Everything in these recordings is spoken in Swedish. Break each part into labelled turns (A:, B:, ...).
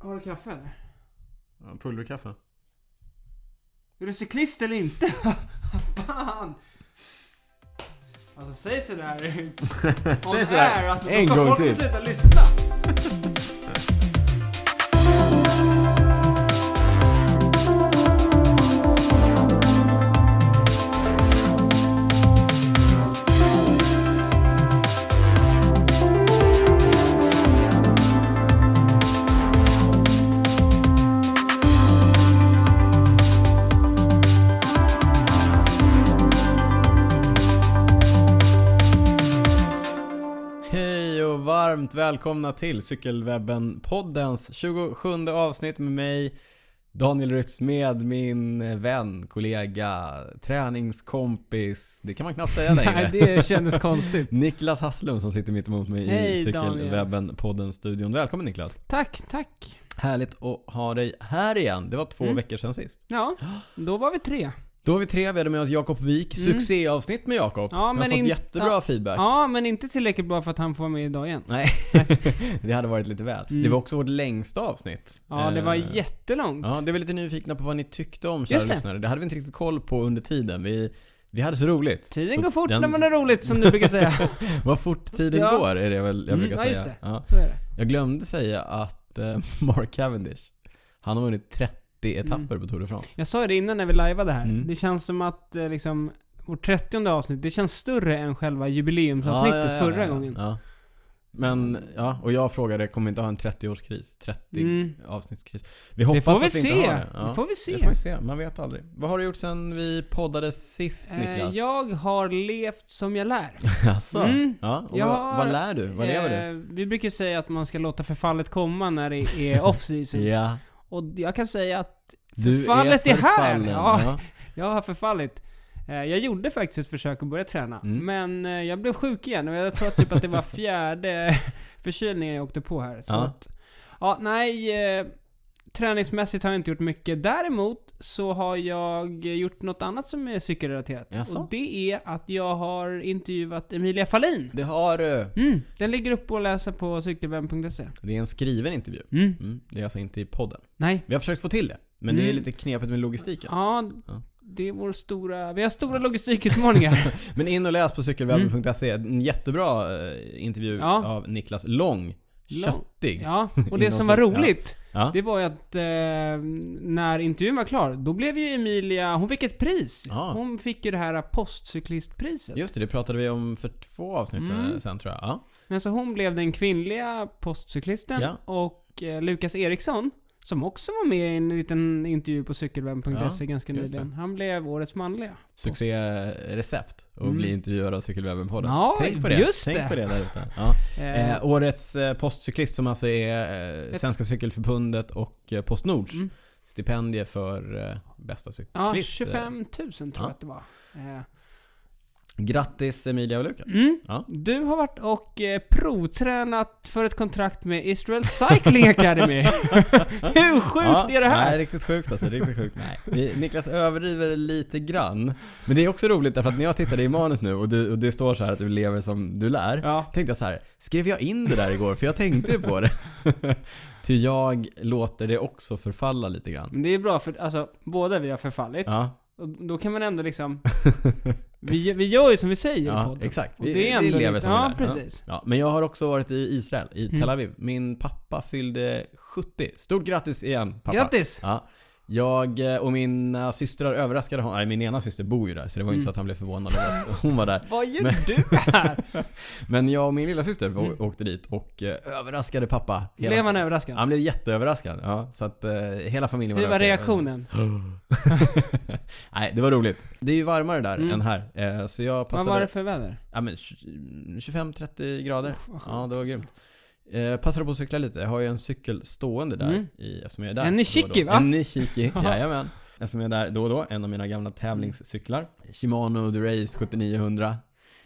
A: Har du kaffe eller?
B: Ja, Pulverkaffe.
A: Är du cyklist eller inte? Fan! Alltså säg sådär on
B: Säg sådär.
A: air, alltså, då
B: en
A: kan
B: gång
A: folk
B: till.
A: sluta lyssna.
B: Hej och varmt välkomna till Cykelwebben-poddens 27 avsnitt med mig Daniel Rytz med min vän, kollega, träningskompis. Det kan man knappt säga
A: Nej,
B: längre.
A: det kändes konstigt.
B: Niklas Hasslum som sitter mitt emot mig i
A: Hej,
B: Cykelwebben-podden-studion. Välkommen Niklas.
A: Tack, tack.
B: Härligt att ha dig här igen. Det var två veckor sedan sist.
A: Ja, då var vi tre.
B: Mm. Då är vi tre, vi hade med oss Jakob Wik. Succéavsnitt med Jakob.
A: Ja,
B: vi har
A: men
B: fått
A: in-
B: jättebra
A: ja.
B: feedback.
A: Ja, men inte tillräckligt bra för att han får vara med idag igen.
B: Nej, det hade varit lite väl. Det var också vårt längsta avsnitt.
A: Mm. Ja, det var
B: Eh,
A: jättelångt.
B: Ja, det var lite nyfikna på vad ni tyckte om kära
A: Just det.
B: lyssnare. Det hade vi inte riktigt koll på under tiden. Vi, vi hade så roligt.
A: Tiden
B: så
A: går fort
B: den-
A: när man har roligt, som du brukar säga.
B: Vad fort tiden
A: Ja.
B: går är det väl jag
A: Mm,
B: brukar
A: ja,
B: säga.
A: just det.
B: Ja.
A: Så är det.
B: Jag glömde säga att eh, Mark Cavendish, han har vunnit 30
A: Mm.
B: etapper på Tour de France.
A: Jag sa ju det innan när vi lajvade här.
B: Mm.
A: Det känns som att eh, liksom, vårt trettionde avsnitt, det känns större än själva jubileumsavsnittet förra gången.
B: Ja. Men, ja, och jag frågade, kommer vi inte ha en 30-årskris? 30
A: Mm.
B: avsnittskris? Vi hoppas
A: Det får vi
B: att vi inte
A: se.
B: har det. Ja.
A: Det får vi
B: Det får
A: se.
B: vi se, man vet aldrig. Vad har du gjort sen vi poddade sist
A: Eh,
B: Niklas?
A: Jag har levt som jag lär.
B: Alltså,
A: Mm.
B: ja, och
A: Jag
B: vad, vad
A: har,
B: lär du? Vad lever du?
A: Eh, vi brukar säga att man ska låta förfallet komma när det är off-season.
B: Ja,
A: Och jag kan säga att
B: du
A: eh, Förfallet är här!
B: förfallen.
A: Ja. jag har förfallit. Eh, Jag gjorde faktiskt ett försök att börja träna,
B: Mm.
A: men eh, jag blev sjuk igen och jag tror typ att det var fjärde förkylningen jag åkte på här. Så
B: Ja.
A: Att, ja, nej. eh, Träningsmässigt har jag inte gjort mycket. Däremot så har jag gjort något annat som är cykelrelaterat.
B: Jaså?
A: Och det är att jag har intervjuat Emilia Fahlin.
B: Det har du.
A: Mm, den ligger uppe och läser på cykelwebben.se.
B: Det är en skriven intervju.
A: Mm.
B: Mm, det är alltså inte i podden.
A: Nej.
B: Vi har försökt få till det, men det är
A: Mm.
B: lite knepigt med logistiken.
A: Ja,
B: Ja.
A: det är vår stora... Vi har stora logistikutmaningar.
B: Men in och läs på cykelwebben.se. En jättebra eh, intervju
A: Mm. Ja.
B: av Niklas Lång. Köttig.
A: ja, och
B: Inom
A: det som var
B: sig- ja.
A: roligt,
B: Ja.
A: det var ju att eh, när intervjun var klar, då blev ju Emilia... Hon fick ett pris.
B: Ja.
A: Hon fick ju det här postcyklistpriset.
B: Just det, det pratade vi om för två avsnitt eh,
A: Mm.
B: sen tror jag. Ja.
A: Men så hon blev den kvinnliga postcyklisten
B: Ja.
A: och eh, Lukas Eriksson, som också var med i en liten intervju på cykelwebben.se
B: Ja,
A: E ganska
B: just
A: nyligen. Han blev årets manliga.
B: Succérecept och bli intervjuad av Cykelwebben-podden.
A: Mm. Ja,
B: Tänk på det.
A: just
B: Tänk
A: det.
B: på det där ute. Ja.
A: Eh,
B: Eh, årets eh, postcyklist som alltså är eh,
A: Ett-
B: Svenska Cykelförbundet och eh, Postnords
A: Mm.
B: stipendie för eh, bästa
A: ja,
B: cyklist.
A: 25 000 tror jag
B: eh, Ja.
A: att det var. Eh,
B: Grattis Emilia och Lukas.
A: Mm.
B: Ja.
A: Du har varit och eh, provtränat för ett kontrakt med Israel Cycling Academy. Hur sjukt är det här?
B: Nej, riktigt sjukt alltså. Riktigt sjukt. Nej. Vi- Niklas överdriver lite grann. Men det är också roligt därför att när jag tittade i manus nu och, du, och det står så här att du lever som du lär.
A: Ja.
B: Tänkte jag så här, skrev jag in det där igår? För jag tänkte ju på det. Ty jag låter det också förfalla lite grann.
A: Men det är bra för alltså, båda vi har förfallit.
B: Ja,
A: Och då kan man ändå liksom... vi, vi gör ju som vi säger i
B: ja
A: podden.
B: exakt.
A: Och det är ändå
B: lever
A: lite-
B: som
A: ja,
B: vi lär.
A: precis. Mm.
B: Ja, men jag har också varit i Israel, i Tel Aviv. Min pappa fyllde 70. Stort grattis igen pappa.
A: Grattis!
B: Ja. Jag eh, och mina systrar överraskade honom. Nej, min ena syster bor ju där så det var
A: Mm.
B: ju inte så att han blev förvånad över att hon var där.
A: Vad gör
B: Men-
A: du här?
B: Men jag och min lilla syster var- åkte dit och eh, överraskade pappa. hela-
A: Mm. Blev han överraskad?
B: Han blev jätteöverraskad. Ja, så att eh, hela familjen var
A: Hur
B: där
A: var
B: för-
A: reaktionen?
B: Nej, det var roligt. Det är ju varmare där
A: Mm.
B: än här. eh, Så jag
A: Vad
B: passade...
A: var det för väder?
B: Ja men tj- 25-30 grader.
A: vad skönt
B: ja, det var
A: alltså.
B: grymt. Eh, passade på att cykla lite. Jag har ju en cykel stående där
A: Mm.
B: i, eftersom jag är där.
A: En Nishiki,
B: då och då.
A: va?
B: En Nishiki, jajamän. Eftersom jag är där då och då. En av mina gamla tävlingscyklar. Shimano Durace 7900.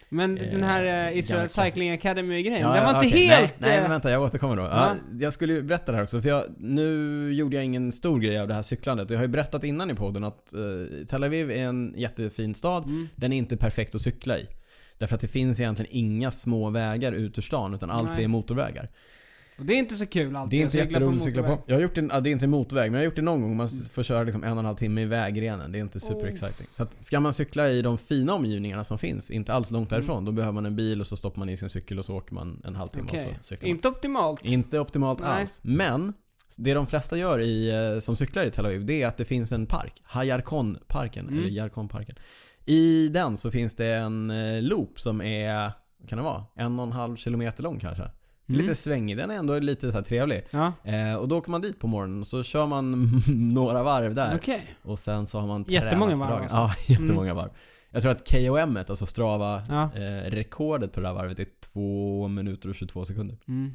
A: Men
B: Eh,
A: den här eh, Israel
B: gammal klassiker.
A: Cycling Academy-grejen,
B: Ja,
A: den var
B: ja,
A: inte
B: okej.
A: helt...
B: Nej, nej
A: eh,
B: men vänta, jag återkommer då. Ja,
A: Va?
B: jag skulle ju berätta det här också för jag, nu gjorde jag ingen stor grej av det här cyklandet. Jag har ju berättat innan i podden att eh, Tel Aviv är en jättefin stad.
A: Mm.
B: Den är inte perfekt att cykla i. Därför att det finns egentligen inga små vägar ut ur stan utan allt
A: Nej.
B: är motorvägar.
A: Och det är inte så kul alltid.
B: Det är inte
A: att cykla
B: jätteroligt att cykla på.
A: motorväg.
B: Jag har gjort det, ja, det är inte motorväg, men jag har gjort det någon gång. Man får köra liksom en och en halv timme i vägrenen. Det är inte superexciting. Så att, ska man cykla i de fina omgivningarna som finns, inte alls långt därifrån, då behöver man en bil och så stoppar man i sin cykel och så åker man en halvtimme och
A: Okej.
B: så cyklar man.
A: Inte optimalt.
B: Alltså, Inte optimalt
A: Nej.
B: alls. Men det de flesta gör i, eh, som cyklar i Tel Aviv, det är att det finns en park. Hayarkon-parken,
A: Mm.
B: eller Yarkon-parken. I den så finns det en eh, loop som är, vad kan det vara? En och en halv kilometer lång kanske.
A: Mm.
B: Lite svängig. Den är ändå lite så här trevlig.
A: Ja,
B: Eh, och då åker man dit på morgonen och så kör man några varv där.
A: okej.
B: Och sen så har man
A: Jättemånga
B: tränat för
A: varv
B: dagen.
A: alltså.
B: Ja, jättemånga varv. Jag tror att KOM, -et, alltså Strava,
A: Ja.
B: eh, rekordet på det där varvet är 2 minuter och 22 sekunder.
A: Mm.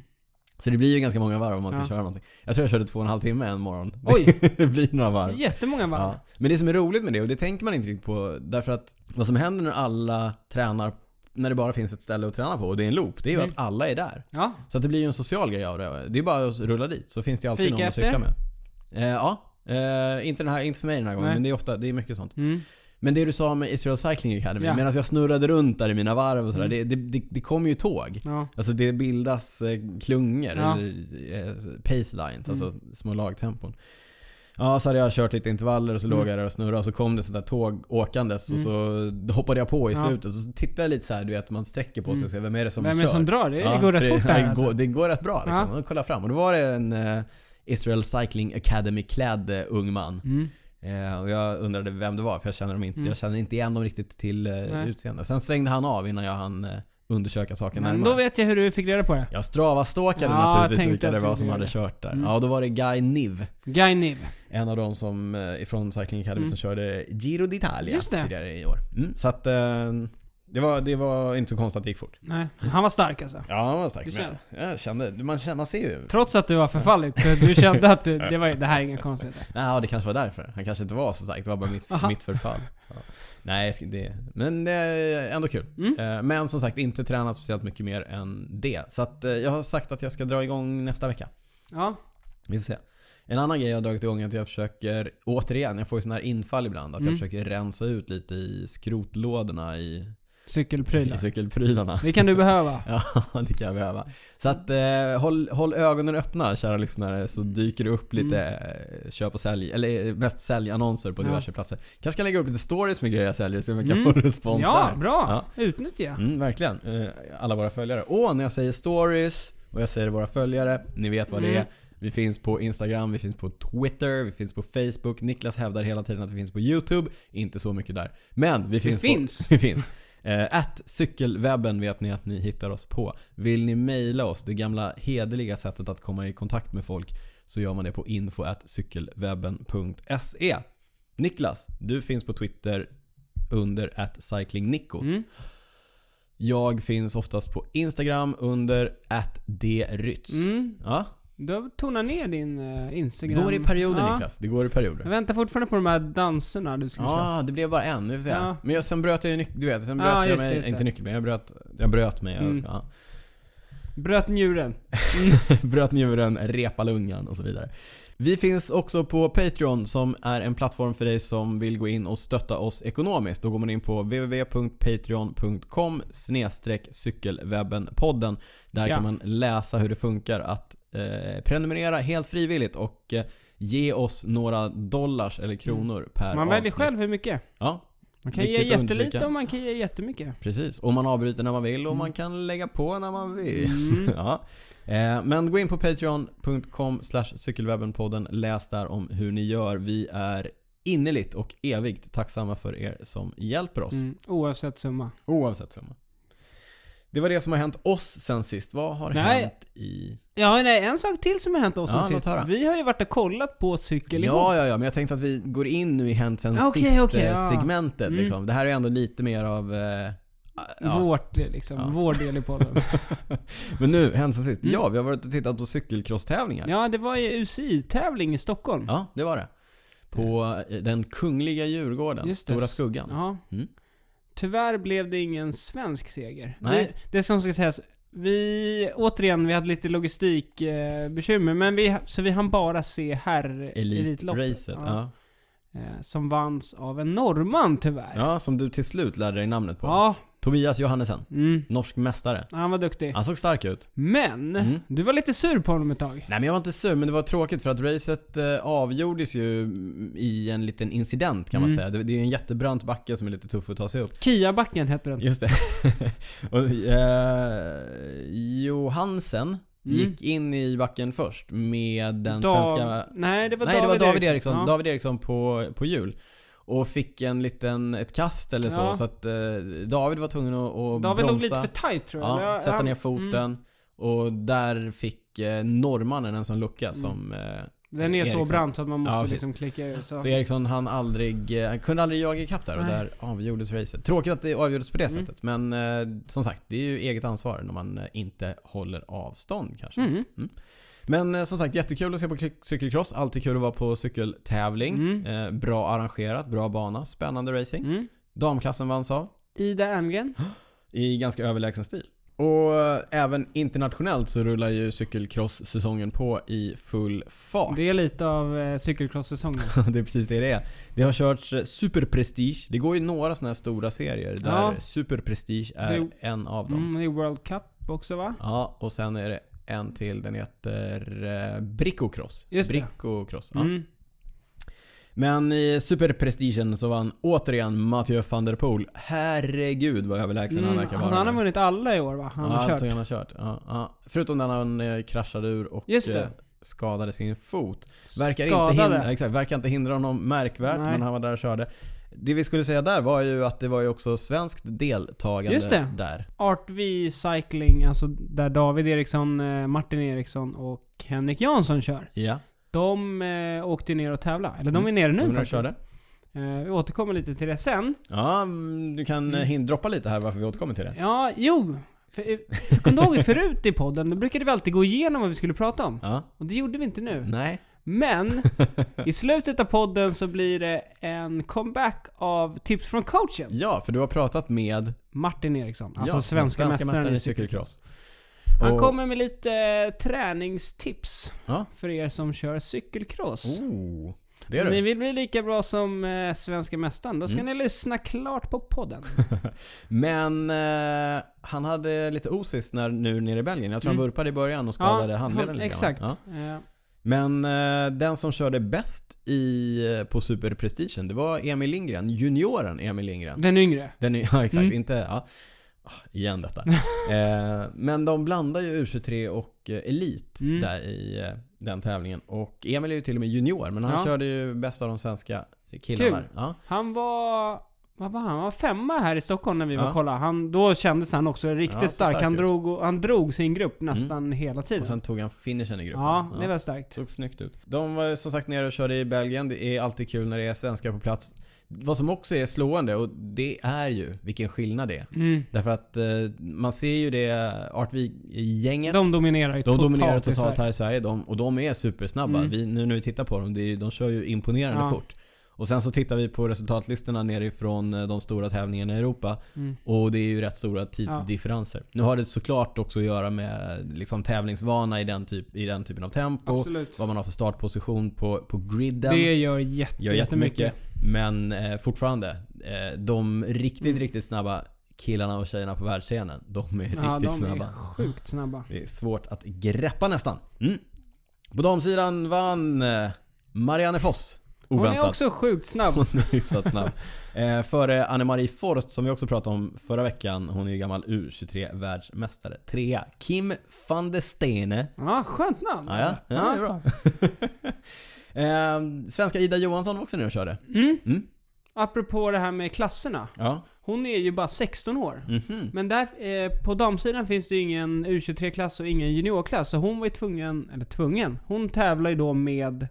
B: Så det blir ju ganska många varv om man ska
A: Ja.
B: köra någonting. Jag tror jag körde två och en halv timme en morgon.
A: Oj.
B: det blir några varv.
A: Jättemånga varv.
B: Ja. Men det som är roligt med det, och det tänker man inte riktigt på, därför att vad som händer när alla tränar, när det bara finns ett ställe att träna på och det är en loop, det är ju
A: Mm.
B: att alla är där.
A: Ja.
B: Så att det blir ju en social grej av det. Det är bara att rulla dit så finns det ju alltid
A: Fika
B: någon att
A: efter?
B: cykla med. Eh, ja. Eh, inte, den här, inte för mig den här gången,
A: Nej.
B: men det är ofta, det är mycket sånt.
A: Mm.
B: Men det du sa med Israel Cycling Academy,
A: Ja. Mm.
B: medan jag snurrade runt där i mina varv och sådär, det, det, det, det kom ju tåg.
A: ja.
B: Alltså det bildas eh, klungor,
A: Ja. Mm.
B: eller eh, pace lines, alltså små lagtempon. Ja, så hade jag kört lite intervaller och så
A: Mm.
B: låg jag där och snurrade och så kom det sådär tåg åkandes och så hoppade jag på i
A: Ja. Mm.
B: slutet. Och så tittade jag lite så här, du vet man sträcker på sig och ser vem är det som
A: Vem är
B: kör?
A: det som drar? Det
B: Ja,
A: går rätt fort
B: ja,
A: där
B: det, går,
A: alltså.
B: det går rätt bra liksom.
A: Ja.
B: Och kolla fram. Och då var det en eh, Israel Cycling Academy-klädd eh, ung man.
A: Mm.
B: Eh, och jag undrade vem det var för jag känner, dem inte,
A: Mm.
B: jag känner inte igen dem riktigt till eh,
A: Nej.
B: utseende. Sen svängde han av innan jag hann eh, undersöka saken
A: Men
B: närmare.
A: då vet jag hur du fick reda på det.
B: Jag stravastalkade
A: Ja, jag
B: naturligtvis
A: tänkte
B: vilka det
A: att du
B: var
A: skulle
B: som hade
A: göra
B: kört där.
A: Mm.
B: Ja, då var det Guy Niv.
A: Guy Niv.
B: En av de som eh, ifrån Cycling Academy
A: Mm.
B: som körde Giro
A: Just
B: d'Italia
A: det.
B: tidigare i år. Mm, så att eh, det, var, det var inte så konstigt att det gick fort.
A: Nej. Han var stark alltså.
B: Ja, man var stark.
A: Du
B: Men jag kände, man, känner, man ser ju.
A: Trots att du har förfallit, så du kände att du, det, var, det här är inga konstigheter.
B: Ja, det kanske var därför. Han kanske inte var så stark. Det var bara mitt,
A: Aha.
B: mitt förfall. Ja. Nej, jag ska- det, men det är ändå kul.
A: Mm.
B: Eh, Men som sagt, inte tränat speciellt mycket mer än det. Så att eh, jag har sagt att jag ska dra igång nästa vecka.
A: Ja.
B: Vi får se. En annan grej jag har dragit igång är att jag försöker, återigen, jag får ju sådana här infall ibland. Att jag
A: Mm.
B: försöker rensa ut lite i skrotlådorna i, i
A: Cykelprylar.
B: cykelprylarna.
A: Det kan du behöva.
B: Ja, det kan jag behöva. Så att eh, håll, håll ögonen öppna kära lyssnare så dyker det upp
A: Mm.
B: lite eh, köp och sälj, eller eh, mest säljannonser på
A: Ja.
B: diverse platser. Kanske kan lägga upp lite stories med grejer jag säljer så man kan
A: Mm.
B: få respons
A: Ja,
B: där.
A: bra. Utnyttja.
B: Mm, verkligen. Eh, alla våra följare. Och när jag säger stories och jag säger våra följare, ni vet vad det
A: Mm.
B: är. Vi finns på Instagram, vi finns på Twitter, vi finns på Facebook. Niklas hävdar hela tiden att vi finns på YouTube. Inte så mycket där. Men vi finns.
A: finns.
B: På, vi finns. Eh, Att cykelwebben vet ni att ni hittar oss på. Vill ni mejla oss, det gamla hederliga sättet att komma i kontakt med folk, så gör man det på info at cykelwebben.se. Niklas, du finns på Twitter under at cyclingnico.
A: Mm.
B: Jag finns oftast på Instagram under @drytz.
A: Mm.
B: Ja,
A: Du har tonat ner din eh,
B: det
A: Instagram.
B: går i perioder
A: ja.
B: Niklas. Det går i
A: Jag
B: perioder.
A: väntar fortfarande på de här danserna du skulle köra.
B: Ja, det blev bara en. Vi får se.
A: Ja.
B: Men jag, sen bröt jag ju nyc- Du vet, sen
A: Ja,
B: bröt jag
A: just det,
B: mig.
A: just det.
B: Inte nyckelben, jag bröt, jag bröt mig. Jag,
A: Mm.
B: ja.
A: Bröt njuren.
B: bröt njuren, repa lungan och så vidare. Vi finns också på Patreon som är en plattform för dig som vill gå in och stötta oss ekonomiskt. Då går man in på www.patreon.com cykelwebbenpodden. Där
A: Ja.
B: kan man läsa hur det funkar att eh, prenumerera helt frivilligt och eh, ge oss några dollars eller kronor per
A: Mm. Man väljer
B: avsnitt.
A: själv hur mycket.
B: Ja,
A: Man kan
B: Viktigt
A: ge
B: att understryka.
A: jättelite och man kan ge jättemycket.
B: Precis, och man avbryter när man vill och
A: Mm.
B: man kan lägga på när man vill. ja. eh, men gå in på patreon.com cykelwebbenpodden. Läs där om hur ni gör. Vi är innerligt och evigt tacksamma för er som hjälper oss.
A: Mm. Oavsett summa.
B: Oavsett summa. Det var det som har hänt oss sen sist. Vad har
A: Nej.
B: hänt i...
A: Ja, nej, en sak till som har hänt oss
B: Ja,
A: sen
B: låt höra.
A: sist. Vi har ju varit och kollat på cykel ihop. Ah,
B: Ja, ja, ja, men jag tänkte att vi går in nu i hänt sen
A: Okej,
B: sist
A: okej,
B: eh,
A: ja.
B: segmentet.
A: Mm.
B: Liksom. Det här är ändå lite mer av... Eh, ja.
A: Vårt liksom,
B: Ja.
A: vår del i podden.
B: Men nu, hänt sen sist.
A: Mm.
B: Ja, vi har varit och tittat på cykelcross-tävlingar.
A: ja, det var ju UCI-tävling i Stockholm.
B: Ja, det var det. På eh, den kungliga Djurgården,
A: Just det.
B: Stora Skuggan.
A: Ja.
B: Mm.
A: Tyvärr blev det ingen svensk seger.
B: Nej.
A: Vi, det som ska sägas, vi, återigen, vi hade lite logistikbekymmer, eh, bekymmer, men vi, så vi hann bara se herr-elitloppet.
B: Elite-racet. Ja.
A: Eh, som vanns av en norrman tyvärr.
B: Ja. som du till slut lärde dig namnet på.
A: Ja,
B: Tobias Johannesen.
A: Mm.
B: Norsk mästare.
A: Han var duktig.
B: Han såg stark ut.
A: Men,
B: Mm.
A: du var lite sur på honom ett tag.
B: Nej men jag var inte sur, men det var tråkigt för att racet eh, avgjordes ju i en liten incident kan man
A: Mm.
B: säga. Det, det är ju en jättebrant backe som är lite tuff att ta sig upp.
A: Kiabacken hette den.
B: Just det. och, eh, Johansen
A: Mm.
B: gick in i backen först med den
A: Da-
B: svenska...
A: Nej, det var
B: Nej, det
A: David
B: var David Eriksson.
A: Ja.
B: David Eriksson på, på hjul. Och fick en liten, ett kast eller så.
A: Ja.
B: Så att eh, David var tvungen att, att
A: David
B: bromsa.
A: låg lite för tight tror jag.
B: Ja,
A: Men jag-
B: sätta
A: han-
B: ner foten.
A: Mm,
B: Och där fick eh, norrmannen en sån lucka
A: Mm.
B: som... Eh,
A: den är
B: Eriksson.
A: så brant så att man måste
B: Ja, precis.
A: liksom klicka ur. Så.
B: Så Eriksson han aldrig, eh, han kunde aldrig jaga ikapp där och
A: Nej.
B: där avgjordes racet. Tråkigt att det avgjordes på det
A: Mm.
B: sättet men eh, som sagt, det är ju eget ansvar när man eh, inte håller avstånd kanske.
A: Mm.
B: Men eh, som sagt, jättekul att se på cy- cykelcross. Alltid kul att vara på cykeltävling.
A: Mm.
B: Eh, bra arrangerat, bra bana, spännande racing.
A: Mm.
B: Damklassen vanns av
A: Ida Erngren.
B: i ganska överlägsen stil. Och eh, även internationellt så rullar ju cykelcross-säsongen på i full fart.
A: Det är lite av eh, cykelcross-säsongen.
B: det är precis det det är. Det har körts eh, Super Prestige. Det går ju några sådana här stora serier där
A: Ja.
B: Super Prestige är
A: Det-
B: en av dem.
A: Mm, det är World Cup också va?
B: Ja, och sen är det en till. Den heter eh, Brickocross.
A: Just det.
B: Brickocross, ja.
A: Mm.
B: Men i Super Prestigen så vann återigen Mathieu van der Poel. Herregud vad överlägsen
A: Mm.
B: han verkar
A: Alltså,
B: vara.
A: han har vunnit alla i år va? Han
B: ja,
A: har
B: allt
A: kört.
B: som han har kört. Ja, ja. Förutom när han eh, kraschade ur och
A: Just det.
B: eh, skadade sin fot. alltså, Verkar
A: Skadade.
B: inte, hindra, exakt, verkar inte hindra honom märkvärt,
A: Nej.
B: men han var där och körde. Det vi skulle säga där var ju att det var ju också svenskt deltagande
A: Just det.
B: där.
A: Art V Cycling, alltså där David Eriksson, eh, Martin Eriksson och Henrik Jansson kör.
B: Ja,
A: De eh, åkte ju ner och tävlade. Eller de är
B: Mm.
A: nere nu
B: nu
A: faktiskt.
B: körde.
A: Eh, vi återkommer lite till det sen.
B: Ja, mm, du kan mm. hindroppa lite här varför vi återkommer till det.
A: Ja, jo. För, eh, för, kom du ihåg förut i podden, då brukade vi alltid gå igenom vad vi skulle prata om.
B: Ja.
A: Och det gjorde vi inte nu.
B: Nej.
A: Men i slutet av podden så blir det en comeback av tips från coachen.
B: Ja, för du har pratat med
A: Martin Eriksson, alltså
B: ja,
A: svenska,
B: den
A: mästaren i cykel.
B: cykelcross.
A: Han
B: Och-
A: kommer med lite eh, träningstips
B: Ja.
A: för er som kör cykelcross.
B: Oh, det är
A: Om ni
B: du. Mm.
A: vill bli lika bra som eh, svenska mästaren, då ska ni lyssna klart på podden.
B: Men eh, han hade lite osis när, nu nere i Belgien. Jag tror
A: Mm.
B: han vurpade i början och skadade handleden lite grann.
A: Exakt.
B: Ja.
A: Eh,
B: Men eh, den som körde bäst i, eh, på Superprestigen, det var Emil Lindgren. Junioren Emil Lindgren.
A: Den yngre.
B: Den är, ja, exakt,
A: Mm.
B: inte... Ja. Ah, Igen detta. eh, men de blandar ju U23 och eh, Elit
A: Mm.
B: där i eh, den tävlingen. Och Emil är ju till och med junior, men han
A: Ja.
B: körde ju bäst av de svenska killarna.
A: Kul.
B: Ja.
A: Han var... Vad var han? Han var femma här i Stockholm när vi var
B: Ja.
A: och kollade. Han, då kändes han också riktigt
B: Ja, så
A: stark.
B: stark
A: Han
B: ut. Mm.
A: drog, och- han drog sin grupp nästan hela tiden.
B: Och sen tog han finishen i gruppen.
A: ja,
B: Ja.
A: det var starkt.
B: Såg snyggt ut. De var ju som sagt nere och körde i Belgien. Det är alltid kul när det är svenskar på plats. Vad som också är slående, och det är ju vilken skillnad det är.
A: Mm.
B: Därför att eh, man ser ju det Artvik-gänget. De,
A: De dominerar ju totalt
B: dominerar
A: i
B: totalt
A: Sverige.
B: här i Sverige de, och de är supersnabba.
A: Mm.
B: Vi, nu när vi tittar på dem, det är, ju- de kör ju imponerande
A: Ja.
B: fort. Och sen så tittar vi på resultatlistorna nerifrån eh, de stora tävlingarna i Europa
A: Mm.
B: och det är ju rätt stora tidsdifferenser. Nu har det såklart också att göra med liksom, tävlingsvana i den, typ, i den typen av tempo.
A: Absolut.
B: Vad man har för startposition på, på griden.
A: Det gör, jätte,
B: Gör jättemycket. Men eh, fortfarande, eh, de riktigt,
A: Mm.
B: riktigt snabba killarna och tjejerna på världsscenen, de är
A: Ja,
B: riktigt
A: de
B: snabba.
A: är sjukt snabba.
B: Det är svårt att greppa nästan. Mm. På damsidan vann eh, Marianne Foss.
A: Hon
B: Oväntat.
A: är också sjukt snabb.
B: Hon är hyfsat snabb. Eh, före Anne-Marie Forst som vi också pratade om förra veckan. Hon är ju gammal U23-världsmästare. Trea. Kim van de Stene.
A: Ja, skönt namn.
B: Ja, ja. ja det är bra. eh, svenska Ida Johansson var också nere och körde.
A: Apropå det här med klasserna.
B: Ja.
A: Hon är ju bara 16 år.
B: Mhm.
A: Men där, eh, på damsidan finns det ju ingen U23-klass och ingen juniorklass. Så hon var ju tvungen, eller tvungen, hon tävlar ju då med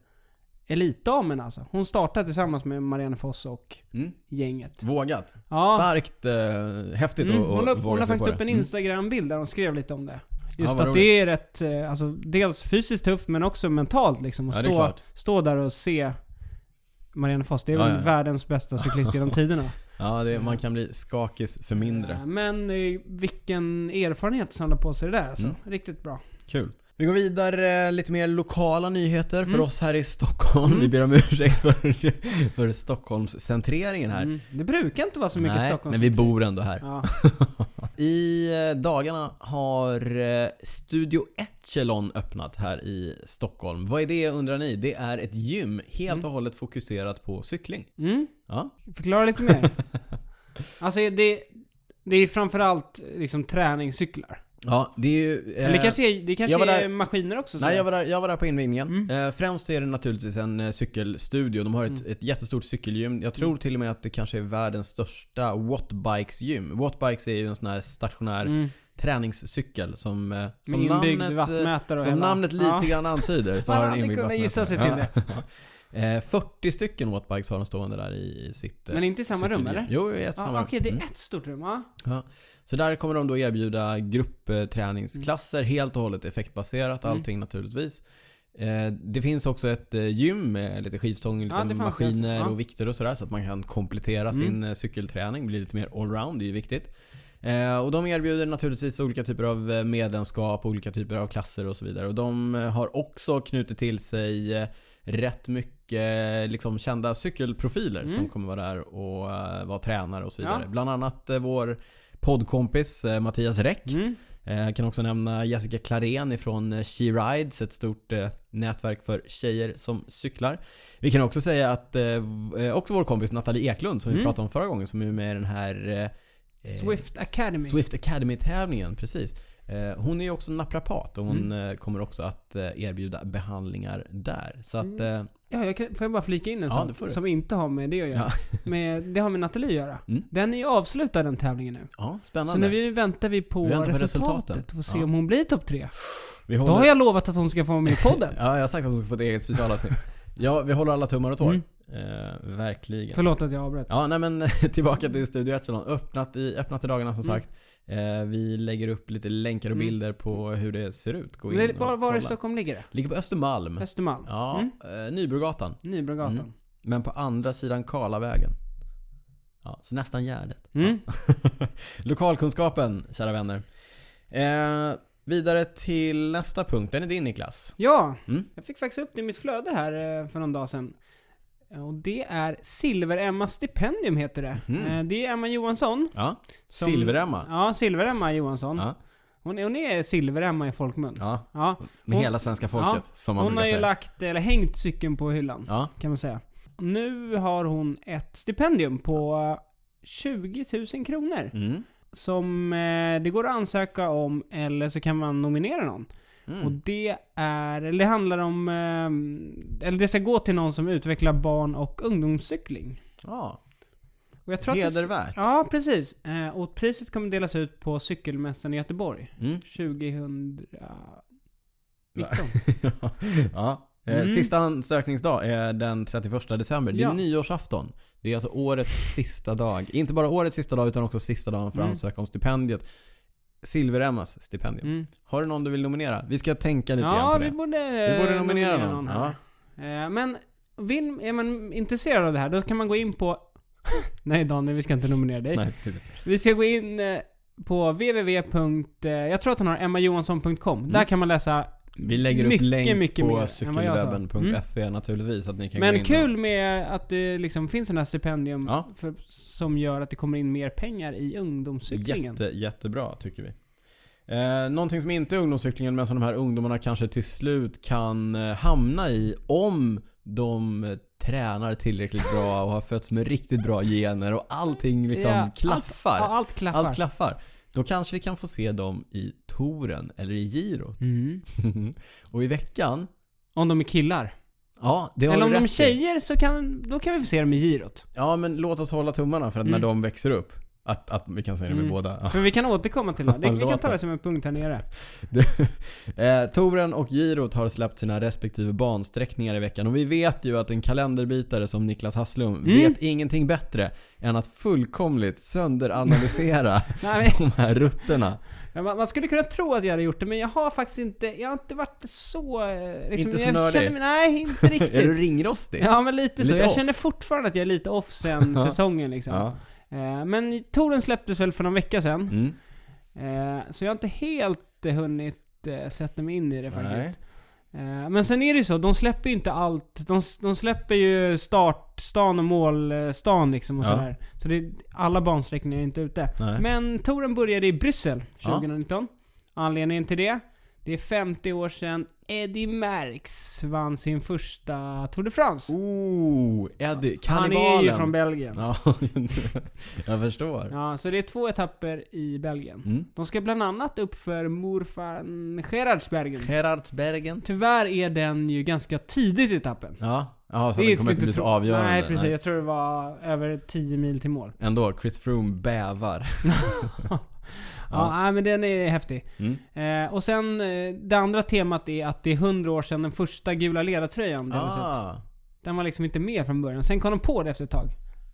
A: elitdamen alltså. Hon startade tillsammans med Marianne Foss och
B: Mm.
A: gänget.
B: Vågat.
A: Ja.
B: Starkt, eh, häftigt
A: Mm,
B: att- att
A: hon la, hon
B: våga
A: la
B: sig på
A: faktiskt
B: det.
A: upp en
B: Mm.
A: Instagram-bild där hon skrev lite om det. Just
B: Ja, vad
A: att det är rätt, eh, alltså dels fysiskt tufft men också mentalt liksom. Att
B: Ja, det är
A: stå,
B: klart.
A: stå där och se Marianne Foss, det är
B: Ja,
A: väl
B: ja, ja.
A: världens bästa cyklist genom tiderna.
B: Ja, det, man kan bli skakis för mindre. Mm.
A: Eh, Men eh, vilken erfarenhet som la på sig det där alltså. Riktigt bra.
B: Kul. Vi går vidare, lite mer lokala nyheter för
A: Mm.
B: oss här i Stockholm. Vi ber om ursäkt för, för Stockholmscentreringen här.
A: Mm. Det brukar inte vara så mycket
B: Nej,
A: Stockholms...
B: men vi bor ändå här.
A: Ja.
B: I eh, dagarna har eh, Studio Echelon öppnat här i Stockholm. Vad är det undrar ni? Det är ett gym helt och hållet fokuserat på cykling.
A: Mm.
B: Ja.
A: Förklara lite mer. alltså det... Det är framförallt liksom träningscyklar.
B: Ja, det är ju... eh,
A: Men det kanske är, det kanske
B: jag var
A: är
B: där-
A: maskiner också? så. Mm.
B: Nej, jag var, där, jag var där på invigningen. Eh, främst är det naturligtvis en eh, cykelstudio. De har ett,
A: Mm.
B: ett jättestort cykelgym. Jag tror till och med att det kanske är världens största Wattbikes-gym. Wattbikes är ju en sån här stationär
A: Mm.
B: träningscykel som, eh, som
A: inbyggd
B: eh,
A: vattmätare och
B: Som
A: hela-
B: namnet lite
A: Ja.
B: grann antyder. Så
A: Man
B: har den
A: hade
B: inbyggd
A: kunnat
B: vattmätare.
A: gissa sig till
B: Ja. Eh, 40 stycken Wattbikes har de stående där i, i sitt eh,
A: Men inte i samma rum,
B: cykelgym.
A: eller?
B: Jo, i ett samma
A: Ja,
B: rum.
A: Okej, det
B: Mm.
A: är ett stort rum, ja.
B: Ja. Så där kommer de då erbjuda gruppträningsklasser
A: Mm.
B: helt och hållet effektbaserat allting naturligtvis. Eh, Det finns också ett eh, gym med lite skivstång, lite
A: det fanns det
B: maskiner
A: också. Ja. Mm.
B: och vikter och sådär så att man kan komplettera sin eh, cykelträning, bli lite mer allround, det är ju viktigt. Eh, Och de erbjuder naturligtvis olika typer av eh, medlemskap, olika typer av klasser och så vidare. Och de eh, har också knutit till sig eh, rätt mycket eh, liksom, kända cykelprofiler som kommer vara där och eh, vara tränare och så vidare.
A: Mm. Ja.
B: Bland annat eh, vår poddkompis eh, Mattias Räck.
A: Mm.
B: Eh, Jag kan också nämna Jessica Klarén ifrån eh, She Rides, ett stort eh, nätverk för tjejer som cyklar. Vi kan också säga att eh, v- eh, också vår kompis Nathalie Eklund som vi pratade om förra gången som är med i den här eh, eh,
A: Mm. Swift Academy.
B: Swift Academy-tävlingen, precis. Eh, Hon är ju också naprapat och hon
A: Mm.
B: eh, kommer också att eh, erbjuda behandlingar där. Så
A: Mm.
B: att, eh,
A: Ja, jag kan, får jag bara flika in en
B: Ja,
A: sak
B: det får du.
A: som inte har med det att göra? Med, det har med Nathalie att göra.
B: Mm.
A: Den är ju avslutad den tävlingen nu.
B: ja, spännande.
A: Så nu vi, väntar vi på
B: Vi väntar på
A: resultatet
B: resultaten.
A: och får se
B: Ja.
A: om hon blir topp tre.
B: Vi
A: Då
B: håller-
A: har jag lovat att hon ska få vara med i podden.
B: Ja, jag har sagt att hon ska få ett eget specialavsnitt. Ja, vi håller alla tummar och tår.
A: Mm.
B: Eh, verkligen.
A: Förlåt att jag avbröt.
B: Ja, nej men tillbaka till Studio Echelon. Öppnat i, öppnat i dagarna som sagt. Eh, vi lägger upp lite länkar och
A: Mm.
B: bilder på hur det ser ut. Gå in
A: Men det-
B: och
A: Var, var
B: kolla.
A: i Stockholm ligger det?
B: Ligger på Östermalm.
A: Östermalm?
B: Ja,
A: Mm.
B: eh, Nybrogatan.
A: Nybrogatan?
B: Mm. Men på andra sidan Karlavägen. Ja, så nästan Gärdet.
A: Mm.
B: Lokalkunskapen, kära vänner. Eh, vidare till nästa punkt. Den är din Niklas.
A: Ja,
B: Mm.
A: jag fick faktiskt upp det i mitt flöde här eh, för någon dag sedan. Eh, Och det är Silver-Emma Stipendium heter det.
B: Mhm.
A: Eh, Det är Emma Johansson.
B: Ja.
A: Som-
B: Silveremma.
A: Ja, Silver-Emma Johansson.
B: Ja.
A: Hon, är- hon är Silver-Emma i folkmun.
B: ja.
A: Ja.
B: Med
A: Hon-
B: hela svenska folket,
A: Ja,
B: som man
A: Hon
B: brukar
A: har ju
B: säga.
A: lagt, eller hängt cykeln på hyllan,
B: Ja,
A: kan man säga. Nu har hon ett stipendium på eh, 20 000 kronor.
B: mm.
A: Som eh, det går att ansöka om eller så kan man nominera någon.
B: Mm.
A: Och det är, eller det handlar om, eh, eller det ska gå till någon som utvecklar barn och ungdomscykling.
B: ja.
A: Och jag tror att det-
B: Hedervärt.
A: Ja, precis. Eh, och priset kommer delas ut på cykelmässan i Göteborg.
B: Mm.
A: 2019. typ.
B: ja. Eh,
A: Mm.
B: Sista ansökningsdag är den 31 december. Det är
A: Ja.
B: nyårsafton. Det är alltså årets sista dag. Inte bara årets sista dag utan också sista dagen för att
A: Mm.
B: ansöka om stipendiet. Silver-Emmas stipendium.
A: Mm.
B: Har du någon du vill nominera? Vi ska tänka lite grann
A: Ja,
B: på
A: vi
B: det.
A: borde,
B: Vi
A: eh,
B: borde nominera någon.
A: här.
B: Ja.
A: Eh, men vill, är man intresserad av det här, då kan man gå in på... Nej Daniel, vi ska inte nominera dig.
B: Nej, typ. typiskt.
A: Vi ska gå in eh, på www. eh, Jag tror att hon har emmajohansson.com.
B: Mm.
A: Där kan man läsa.
B: Vi lägger upp
A: Mycket,
B: länk
A: mycket mer än
B: på
A: vad jag sa. Mm.
B: cykelwebben.se naturligtvis. Att ni kan gå
A: Men
B: in
A: kul med att det liksom finns sådana här stipendium
B: Ja.
A: för, som gör att det kommer in mer pengar i ungdomscyklingen.
B: Jätte, jättebra tycker vi. Eh, någonting som inte är ungdomscyklingen men som de här ungdomarna kanske till slut kan eh, hamna i om de eh, tränar tillräckligt bra och har fötts med riktigt bra gener och allting liksom
A: Ja, allt-
B: klaffar.
A: Ja, allt klaffar.
B: allt klaffar. Då kanske vi kan få se dem i touren eller i girot.
A: Mm.
B: och i veckan,
A: Om de är killar.
B: ja det har
A: Eller
B: du
A: om de
B: rätt
A: är
B: i.
A: tjejer så kan, då kan vi få se dem i girot.
B: Ja men låt oss hålla tummarna för att när
A: Mm.
B: de växer upp, att, att vi kan se dem i
A: Mm.
B: båda.
A: För vi kan återkomma till det här. Det, vi kan
B: Låt
A: ta det
B: oss.
A: som en punkt här nere.
B: Eh, Toren och Girot har släppt sina respektive bansträckningar i veckan och vi vet ju att en kalenderbitare som Niklas Hasslum
A: Mm.
B: vet ingenting bättre än att fullkomligt sönderanalysera
A: Nej,
B: de här rutterna.
A: men man, man skulle kunna tro att jag hade gjort det, men jag har faktiskt inte, jag har inte varit så... eh, Liksom,
B: Inte så
A: jag
B: nördig.
A: känner mig, Nej, inte
B: Är du
A: riktigt.
B: ringrostig?
A: ja, men lite, så.
B: Lite
A: Jag
B: off.
A: känner fortfarande att jag är lite off sen säsongen liksom.
B: Ja.
A: Eh, Men touren släpptes väl för någon vecka sedan.
B: Mm.
A: Eh, Så jag har inte helt eh, hunnit eh, sätter mig in i det faktiskt.
B: Nej.
A: Eh, Men sen är det ju så, de släpper ju inte allt. De, de släpper ju startstan och målstan liksom och
B: Ja.
A: sådär. Så det, alla bansträckningar är inte ute.
B: Nej.
A: Men touren började i Bryssel
B: Ja.
A: 2019. Anledningen till det? Det är 50 år sedan Eddie Merckx vann sin första Tour de France.
B: Oh, Eddie,
A: Han
B: kannibalen.
A: är ju från Belgien.
B: Ja, jag förstår.
A: Ja, så det är två etapper i Belgien.
B: Mm.
A: De ska bland annat upp för Murfan Gerardsbergen.
B: Gerardsbergen.
A: Tyvärr är den ju ganska tidigt i etappen.
B: Ja, ja så det kommer inte bli så
A: tro-
B: avgörande.
A: Nej, precis. Jag tror det var över 10 mil till mål.
B: Ändå, Chris Froome bävar.
A: Ja, nej, men den är häftig.
B: Mm.
A: Eh, och sen eh, det andra temat är att det är 100 år sedan den första gula ledartröjan blev sett.
B: Ah,
A: Den var liksom inte med från början. Sen kom de på det efter ett tag.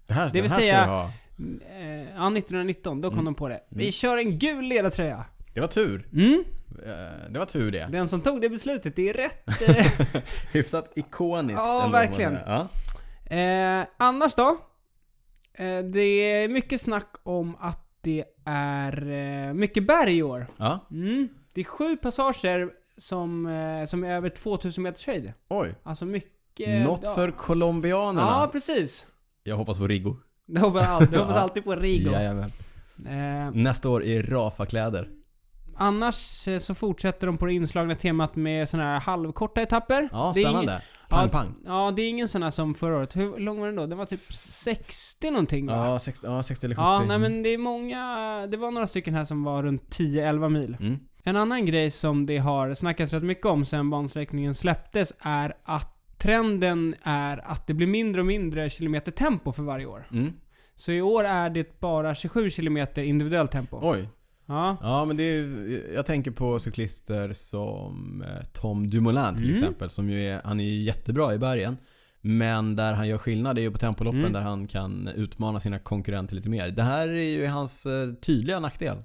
B: det här,
A: vill
B: den här ska
A: säga-
B: vi ha.
A: Eh, ja, 1919. Då
B: Mm.
A: kom de på det. Vi kör en gul ledartröja.
B: Det var tur.
A: Mm.
B: Eh, Det var tur det.
A: Den som tog det beslutet, det är rätt. Eh,
B: Hyfsat ikoniskt.
A: Ja,
B: eller vad man
A: verkligen.
B: säger. Ja.
A: Eh, annars då? Eh, det är mycket snack om att det är eh, mycket berg i år.
B: ja.
A: Mm. Det är sju passager som, eh, som är över 2000 meters höjd.
B: Oj.
A: Alltså mycket...
B: Något
A: ja.
B: för colombianerna.
A: Ja, precis.
B: Jag hoppas på Rigo.
A: Det hoppas alltid, det hoppas alltid på Rigo.
B: Jajamän.
A: Eh,
B: Nästa år i Rafa-kläder.
A: annars eh, så fortsätter de på det inslagna temat med såna här halvkorta etapper.
B: Ja,
A: Det är
B: spännande.
A: ingen-
B: Pang,
A: ja,
B: pang.
A: Ja, det är ingen sån här som förra året. Hur lång var den då? Den var typ 60 någonting va?
B: Ja, 60, ja, 60 eller 70.
A: Ja, nej men det är många... Det var några stycken här som var runt 10-11 mil.
B: Mm.
A: En annan grej som det har snackats rätt mycket om sen bansträckningen släpptes är att trenden är att det blir mindre och mindre kilometertempo för varje år.
B: Mm.
A: Så i år är det bara 27 kilometer individuellt tempo.
B: Oj.
A: Ja.
B: Ja, men det är ju, jag tänker på cyklister som eh, Tom Dumoulin till
A: Mm.
B: exempel. Som ju är, han är ju jättebra i bergen. Men där han gör skillnad är ju på tempoloppen
A: Mm.
B: där han kan utmana sina konkurrenter lite mer. Det här är ju hans eh, tydliga nackdel.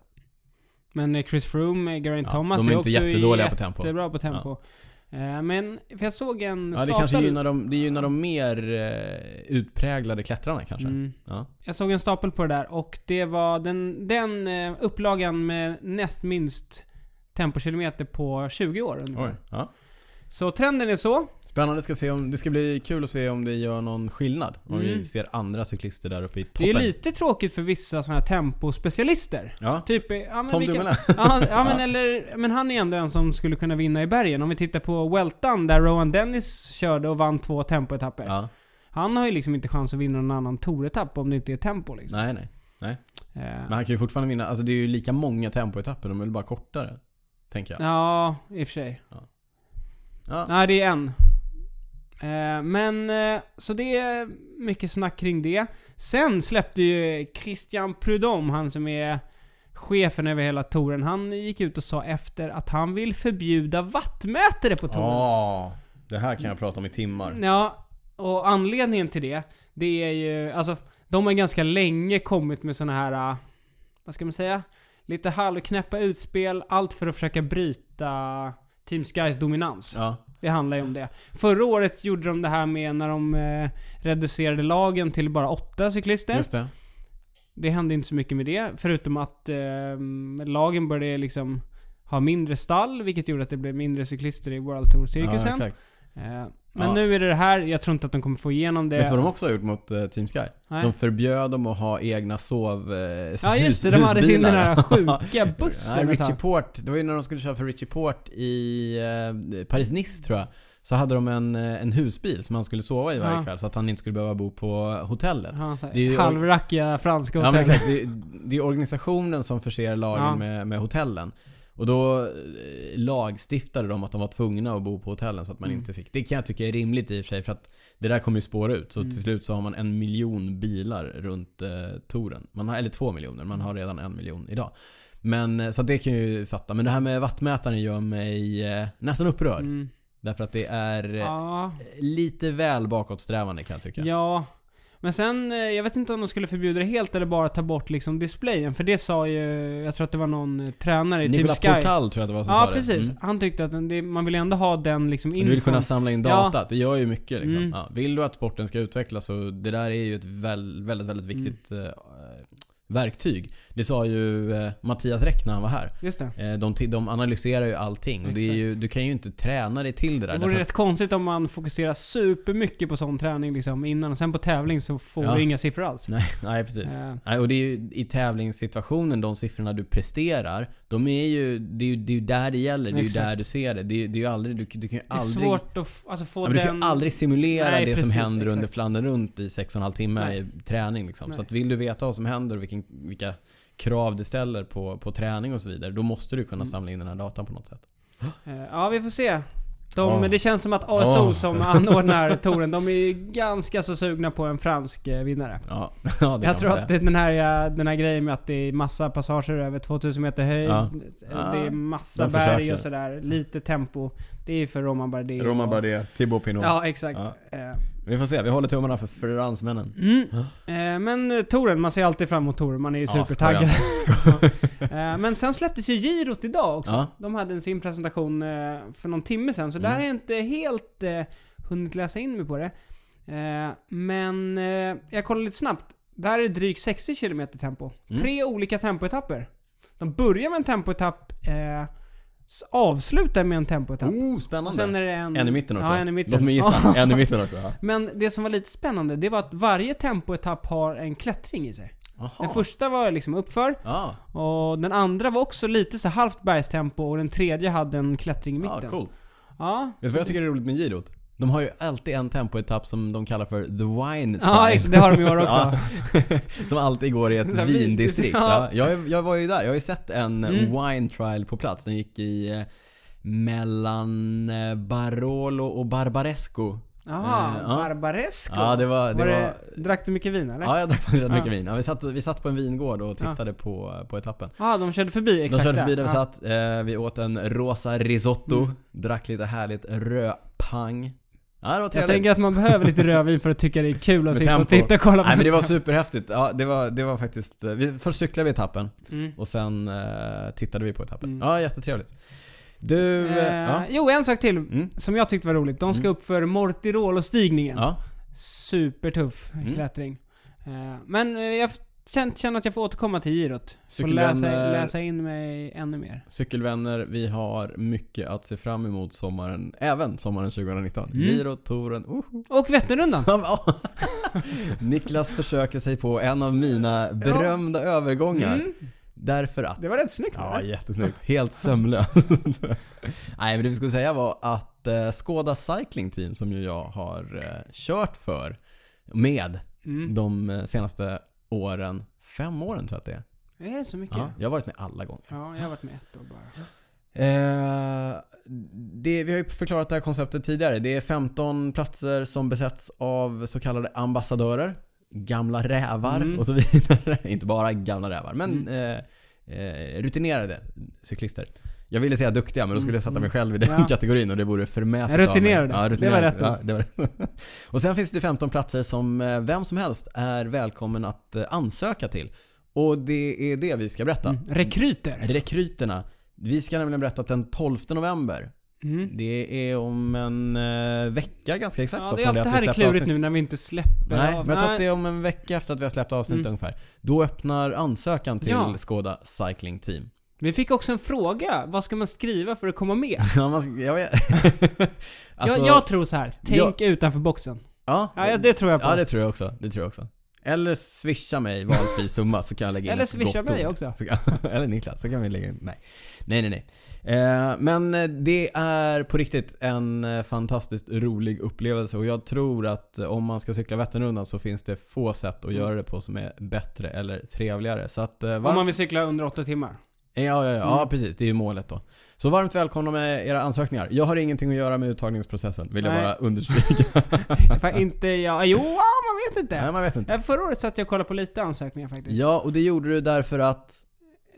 A: Men eh, Chris Froome, eh, Geraint
B: Ja,
A: Thomas
B: de är
A: är
B: inte
A: också
B: jättedåliga på tempo.
A: jättebra på tempo. Eh, Men, för jag såg en
B: Ja, det
A: staplad-
B: kanske gynnar de, det gynnar de mer eh, utpräglade klättrarna kanske.
A: Mm.
B: Ja.
A: Jag såg en stapel på det där och det var den, den eh, upplagan med näst minst tempokilometer på 20 år ungefär.
B: Oj. Ja.
A: Så trenden är så.
B: Spännande, ska se om, det ska bli kul att se om det gör någon skillnad. Om vi
A: Mm.
B: ser andra cyklister där uppe i
A: Det är
B: toppen.
A: lite tråkigt för vissa sådana här tempospecialister.
B: Ja.
A: Typ, eh, ja men
B: Tom
A: vi kan-
B: Dumoulin.
A: Ja, ja men eller, men han är ändå en som skulle kunna vinna i bergen. Om vi tittar på Weltan där Rowan Dennis körde och vann två tempoetapper.
B: Ja.
A: Han har ju liksom inte chans att vinna någon annan touretapp om det inte är tempo liksom.
B: Nej, nej. nej.
A: Eh,
B: Men han kan ju fortfarande vinna. Alltså det är ju lika många tempoetapper, de är väl bara kortare. Tänker jag.
A: Ja, i och för sig.
B: Ja. Ja.
A: Nej, det är en. Eh, Men, eh, så det är mycket snack kring det. Sen släppte ju Christian Prudhomme, han som är chefen över hela touren, han gick ut och sa efter att han vill förbjuda vattmätare på touren.
B: Ja, det här kan jag prata om i
A: Mm.
B: timmar.
A: Ja, och anledningen till det, det är ju, alltså de har ganska länge kommit med såna här, äh, vad ska man säga? Lite halvknäppa utspel, allt för att försöka bryta Team Skys dominans.
B: Ja.
A: Det handlar ju om det. Förra året gjorde de det här med när de eh, reducerade lagen till bara åtta cyklister.
B: Just det.
A: Det hände inte så mycket med det, förutom att eh, lagen började liksom ha mindre stall, vilket gjorde att det blev mindre cyklister i World
B: Ja,
A: Tour-cirkusen.
B: exakt.
A: Eh, Men
B: Ja.
A: nu är det det här, jag tror inte att de kommer få igenom det.
B: Vet du vad de också har gjort mot eh, Team Sky?
A: Nej.
B: De förbjöd dem att ha egna sov... eh,
A: ja just det,
B: hus-
A: de hade sin den
B: husbilar.
A: här sjuka bussen.
B: Nej,
A: vet du.
B: Richie Port. Det var ju när de skulle köra för Richie Port i eh, Paris-Nice tror jag. Så hade de en, eh, en husbil som han skulle sova i varje
A: Ja.
B: kväll så att han inte skulle behöva bo på hotellet.
A: Ja, så
B: Det är
A: här
B: ju-
A: Halvrackiga franska
B: Ja, men
A: hotell.
B: exakt. Det, det är organisationen som förser lagen
A: Ja.
B: med, med hotellen. Och då eh, lagstiftade de att de var tvungna att bo på hotellen så att
A: Mm.
B: man inte fick. Det kan jag tycka är rimligt i och för sig för att det där kommer ju spåra ut. Så
A: Mm.
B: till slut så har man en miljon bilar runt eh, touren. Man har, eller två miljoner, man
A: Mm.
B: har redan en miljon idag. Men, eh, så att det kan jag ju fatta. Men det här med vattmätaren gör mig eh, nästan upprörd.
A: Mm.
B: Därför att det är eh,
A: Ja,
B: lite väl bakåtsträvande kan jag tycka.
A: ja. Men sen, eh, jag vet inte om de skulle förbjuda det helt eller bara ta bort liksom displayen. För det sa ju, jag tror att det var någon eh, tränare i Team
B: Nicolas
A: Sky.
B: Portal tror jag att det var som sa
A: ja,
B: det.
A: precis.
B: Mm.
A: Han tyckte att den, det, man vill ändå ha den liksom
B: Du vill
A: infon.
B: kunna samla in
A: Ja.
B: data. Det gör ju mycket. Liksom.
A: Mm. Mm.
B: Ja. Vill du att sporten ska utvecklas så det där är ju ett väl, väldigt, väldigt viktigt eh, verktyg. Det sa ju eh, Mattias Räck när han var här.
A: Just det.
B: Eh, De, ti- de analyserar ju allting och det är ju, du kan ju inte träna dig till det där.
A: Det
B: därför
A: vore
B: att-
A: rätt konstigt om man fokuserar supermycket på sån träning liksom innan och sen på tävling så får
B: Ja.
A: du inga siffror alls.
B: Nej, nej precis.
A: Eh.
B: Nej, och det är ju i tävlingssituationen, de siffrorna du presterar, de är ju, det är ju, det är ju där det gäller. Det är ju
A: Exakt.
B: där du ser det. Det är, det är ju aldrig, du, du kan ju
A: Det är
B: aldrig...
A: svårt att f- alltså, få
B: Ja, men du
A: den...
B: kan ju aldrig simulera
A: Nej,
B: det
A: precis,
B: som händer
A: exakt.
B: under Flandern runt i 6,5 timmar
A: Nej.
B: i träning. Liksom.
A: Nej.
B: Så att vill du veta vad som händer och vilken, vilka krav det ställer på, på träning och så vidare, då måste du
A: Mm.
B: kunna samla in den här datan på något sätt.
A: Eh, Ja, vi får se. De,
B: Ja.
A: Det känns som att ASO
B: Ja.
A: som anordnar touren, de är ju ganska så sugna på en fransk eh, vinnare.
B: Ja, ja det kan man
A: Jag tror
B: säga.
A: att det- den här, eh, den här grejen med att det är massa passager över 2000 meter höjd,
B: Ja.
A: eh, det är massa
B: De
A: berg
B: försökte.
A: och sådär, lite tempo. Det är för Roman Bardet. och-
B: Romain Bardet, Thibaut Pinot.
A: Ja, exakt. Eh,
B: Vi får se, vi håller tummarna för fransmännen.
A: Mm. Eh, Men eh, touren, man ser alltid fram emot touren. Man är ju
B: Ja,
A: supertaggad. Eh, Men sen släpptes ju girot idag också.
B: Ja. Mm.
A: De hade sin presentation eh, för någon timme sen, så där har jag inte helt eh, hunnit läsa in mig på det. Eh, Men eh, jag kollade lite snabbt. Där är drygt 60 km tempo.
B: Mm.
A: Tre olika tempoetapper. De börjar med en tempoetapp, eh, s- avslutar med en tempoetapp.
B: Oh, spännande.
A: Mm. Och sen är det en...
B: En i mitten också.
A: Ja, en i mitten.
B: Låt mig gissa. en i mitten också. ja.
A: Men det som var lite spännande, det var att varje tempoetapp har en klättring i sig. Den
B: Jaha.
A: första var liksom uppför,
B: Ja,
A: och den andra var också lite så halvt bergstempo och den tredje hade en klättring i mitten.
B: ja, coolt.
A: Ja,
B: Vet du vad jag tycker är roligt med girot? De har ju alltid en tempoetapp som de kallar för the wine
A: ja
B: Tribe.
A: exakt, det har de i år också.
B: Som alltid går i
A: Så här
B: ett vindistrikt.
A: Ja. Mm.
B: Ja. Jag, jag var ju där. Jag har ju sett en eh, wine trial på plats. Den gick i eh, mellan eh, Barolo och Barbaresco.
A: Jaha,
B: Eh, ja.
A: Barbaresco.
B: Ja, det var... Det var,
A: var det, drack du mycket vin eller? Ja,
B: ja, jag drack faktiskt rätt mycket vin. Ja, vi, satt, vi satt på en vingård och tittade på, på etappen.
A: ah, de körde förbi
B: De
A: exakt
B: körde förbi där vi
A: ja. Mm.
B: satt. Eh, vi åt en rosa risotto. Drack lite härligt rödpang. Ja, det var
A: Jag
B: trevligt.
A: tänker att man behöver lite rödvin för att tycka det är kul att
B: Med
A: sitta och
B: tempo.
A: titta och kolla på.
B: Nej men det var superhäftigt. Ja, det, var, det var faktiskt... eh, Vi, först cyklade vi etappen
A: Mm.
B: och sen eh, tittade vi på etappen.
A: Mm.
B: Ja, jättetrevligt. Du... Eh, ja.
A: Eh, Jo, en sak till
B: Mm.
A: som jag tyckte var roligt. De ska upp för Mortirolo-stigningen.
B: ja.
A: Supertuff
B: Mm.
A: klättring. Eh, Men eh, jag f- kän- känner att jag får återkomma till girot. Får
B: Cykelvänner-
A: läsa, läsa in mig ännu mer.
B: Cykelvänner, vi har mycket att se fram emot sommaren, även sommaren oh. 2019.
A: Mm.
B: Giro, touren, oho.
A: Och Vätternrundan.
B: Niklas försöker sig på en av mina berömda övergångar.
A: Mm.
B: Därför att
A: Det var rätt snyggt
B: Ja,
A: eller?
B: jättesnyggt. Helt sömlöst. Nej, men det vi skulle säga var att eh, Skoda Cycling Team som ju jag har eh, kört för med
A: Mm.
B: de eh, senaste åren, fem åren tror jag att det är.
A: Är det så mycket?
B: Ja,
A: Ja.
B: jag har varit med alla gånger.
A: jag har varit med ett år bara.
B: Eh, det, vi har ju förklarat det här konceptet tidigare. Det är 15 platser som besätts av så kallade ambassadörer. Gamla rävar
A: Mm.
B: och så vidare. Inte bara gamla rävar, men eh, eh, rutinerade cyklister. Jag ville säga duktiga, men då skulle jag sätta mig själv i den
A: Mm. Ja.
B: kategorin och det vore förmätet av mig.
A: Rutinerade.
B: Ja,
A: Det var rätt
B: Ja, det var det. Och sen finns det 15 platser som eh, vem som helst är välkommen att eh, ansöka till. Och det är det vi ska berätta.
A: Mm. Rekryter.
B: Rekryterna. Vi ska nämligen berätta att den 12 november,
A: Mm.
B: det är om en eh, vecka ganska exakt.
A: Ja,
B: va,
A: det, är allt,
B: från
A: det
B: att vi
A: här är
B: släppte
A: klurigt
B: avsnitt.
A: nu när vi inte släpper
B: Nej,
A: av.
B: men jag tror att det är om en vecka efter att vi har släppt avsnittet ungefär. Då öppnar ansökan till
A: Ja.
B: Skoda Cycling Team.
A: Vi fick också en fråga. Vad ska man skriva för att komma med?
B: Ja, man, ska- jag vet. alltså,
A: jag, jag tror så här. Tänk utanför boxen.
B: ja,
A: Ja, ja, det tror jag på.
B: ja, det tror jag också. Det tror jag också. Eller swisha mig valfri summa så kan jag lägga in
A: Eller
B: ett
A: swisha
B: gott
A: mig
B: ord.
A: också.
B: Så kan- Eller Niklas, så kan vi lägga in. Nej, nej, nej. nej. Eh, men eh, det är på riktigt en eh, fantastiskt rolig upplevelse och jag tror att eh, om man ska cykla Vätternrundan så finns det få sätt att göra det på som är bättre eller trevligare. Så att, eh, varmt...
A: Om man Mm. vill cykla under åtta timmar.
B: Ja, ja, ja, ja precis. Det är ju målet då. Så varmt välkomna med era ansökningar. Jag har ingenting att göra med uttagningsprocessen, vill jag
A: Nej.
B: bara understryka.
A: För inte jag... Jo, ah, man vet inte.
B: nej, man vet inte.
A: Nej, Förra året satt jag och kollade på lite ansökningar faktiskt.
B: Ja, och det gjorde du därför att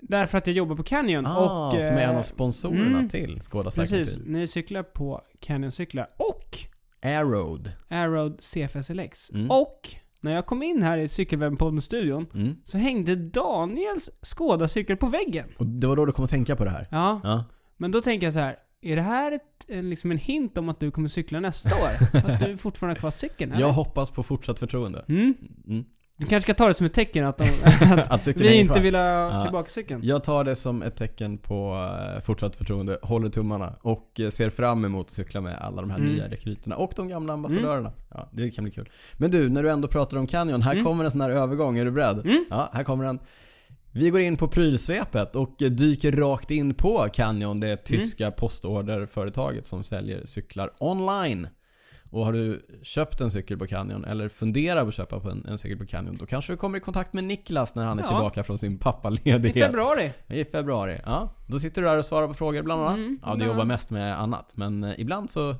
A: Därför att jag jobbar på Canyon
B: Ah,
A: och... eh,
B: som är en av sponsorerna
A: mm.
B: till Skoda
A: Precis,
B: Precis.
A: ni cyklar på Canyon-cyklar och
B: Aeroad.
A: Aeroad CFSLX.
B: Mm.
A: Och när jag kom in här i Cykelwebben-podden-studion
B: Mm.
A: så hängde Daniels Skoda-cykel på väggen.
B: Och det var då du kom att tänka på det här?
A: Ja,
B: Ja.
A: men då tänker jag så här. Är det här ett, en, liksom en hint om att du kommer cykla nästa år? att du fortfarande har kvar cykeln? eller?
B: Jag hoppas på fortsatt förtroende.
A: Mm.
B: Mm.
A: Du kanske ska ta det som ett tecken att, de, att
B: Att cykeln
A: vi
B: hänger
A: inte
B: kvar.
A: vill ha
B: Ja.
A: tillbaka cykeln.
B: Jag tar det som ett tecken på eh, fortsatt förtroende, håller tummarna och eh, ser fram emot att cykla med alla de här
A: Mm.
B: nya rekryterna och de gamla ambassadörerna. Ja, det kan bli kul. Men du, när du ändå pratar om Canyon,
A: Mm.
B: här kommer en sån här övergång. Är du beredd? Ja, här kommer den. Vi går in på prylsvepet och eh, dyker rakt in på Canyon, det tyska
A: Mm.
B: postorderföretaget som säljer cyklar online. Och har du köpt en cykel på Canyon eller funderar på att köpa på en, en cykel på Canyon då kanske du kommer i kontakt med Niklas när han är
A: Ja.
B: tillbaka från sin
A: I
B: pappaledighet.
A: februari.
B: I februari, ja. Då sitter du där och svarar på frågor bland annat.
A: Mm,
B: ja, du jobbar mest med annat. Men eh, ibland så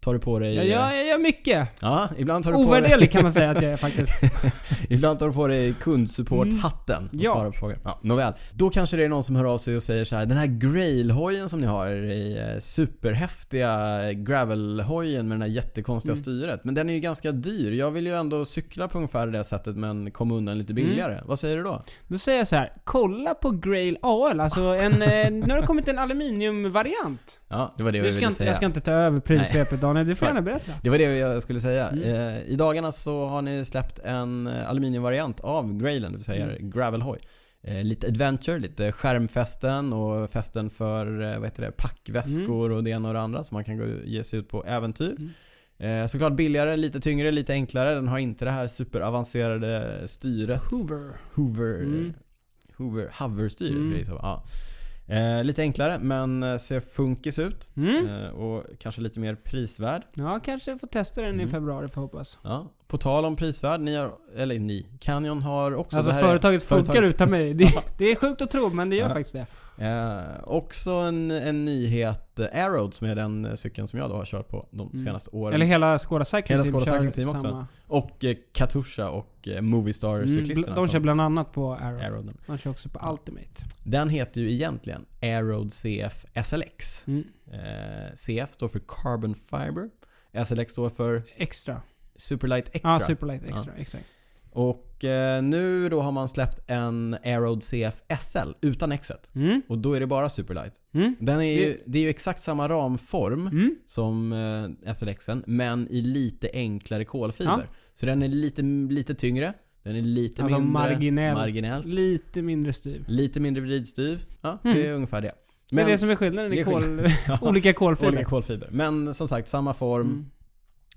B: tar du på dig...
A: Jag
B: eh,
A: gör, jag gör mycket.
B: ja ibland tar du på dig...
A: Ovärderlig kan man säga att jag är faktiskt.
B: Ibland tar du på dig kundsupporthatten och
A: Mm, Ja.
B: svarar på frågor. Ja, nåväl. Då kanske det är någon som hör av sig och säger så här. Den här grailhojen som ni har i eh, superhäftiga eh, gravelhojen med det här jättekonstiga
A: Mm.
B: styret. Men den är ju ganska dyr. Jag vill ju ändå cykla på ungefär det här sättet men komma undan lite
A: Mm.
B: billigare. Vad säger du då?
A: Då säger jag så här. kolla på Grail AL. Alltså en, eh, nu har det kommit en aluminiumvariant.
B: Ja, det var det
A: Du
B: vi
A: ska
B: ville
A: inte,
B: säga.
A: jag ska inte ta över prylsvepet Daniel, du får gärna berätta.
B: Det var det jag skulle säga.
A: Mm.
B: Eh, I dagarna så har ni släppt en eh, aluminiumvariant av Grailen, det vill säga
A: Mm.
B: Gravelhoj. Eh, lite adventure, lite skärmfästen och fästen för eh, vad heter det, packväskor
A: Mm.
B: och det ena och det andra så man kan gå, ge sig ut på äventyr. Eh, såklart billigare, lite tyngre, lite enklare. Den har inte det här superavancerade styret.
A: Hoover.
B: Hoover...
A: Mm.
B: Hoover... Hover-styret.
A: Mm.
B: Liksom. Ja. Eh, lite enklare men eh, ser funkis ut.
A: Mm?
B: Eh, och kanske lite mer prisvärd.
A: Ja, kanske får testa den i
B: Mm.
A: februari får jag hoppas.
B: Ja. På tal om prisvärd, ni har, eller ni, Canyon har också...
A: Alltså
B: det här
A: företaget
B: är-
A: funkar
B: företag-
A: utan mig. Det, det är sjukt att tro men det gör
B: Ja.
A: faktiskt det.
B: Eh, också en, en nyhet, eh, Aeroad som är den eh, cykeln som jag då har kört på de
A: Mm.
B: senaste åren.
A: Eller hela Skåda Cycling
B: Hela
A: Team
B: Skåda
A: kör
B: Cycling Team också.
A: samma.
B: Och eh, Katusha och eh,
A: Mm,
B: Movistar-cyklisterna.
A: bl- de kör
B: som-
A: bland annat på Arrow.
B: Aeroad.
A: De kör också på
B: Ja.
A: Ultimate.
B: Den heter ju egentligen Aeroad CF SLX.
A: Mm.
B: Eh, CF står för Carbon Fiber. SLX står för
A: Extra.
B: Superlight Extra.
A: Ja, ah, Superlight Extra. Exakt.
B: Och eh, nu då har man släppt en Aeroad CF SL utan Xet.
A: Mm.
B: Och då är det bara Superlight.
A: Mm.
B: Den är ju,
A: Det-
B: det är ju exakt samma ramform
A: Mm.
B: som eh, SLXen men i lite enklare kolfiber. Så den är lite, lite tyngre. Den är lite
A: Alltså
B: mindre
A: marginell.
B: marginellt.
A: Lite mindre styv.
B: Lite mindre vridstyv. Ja, det är ungefär det.
A: Mm. det är det som är skillnaden
B: det
A: i
B: är
A: kol,
B: skillnaden. Ja,
A: olika kolfiber.
B: olika kolfiber. Men som sagt, samma form.
A: Mm.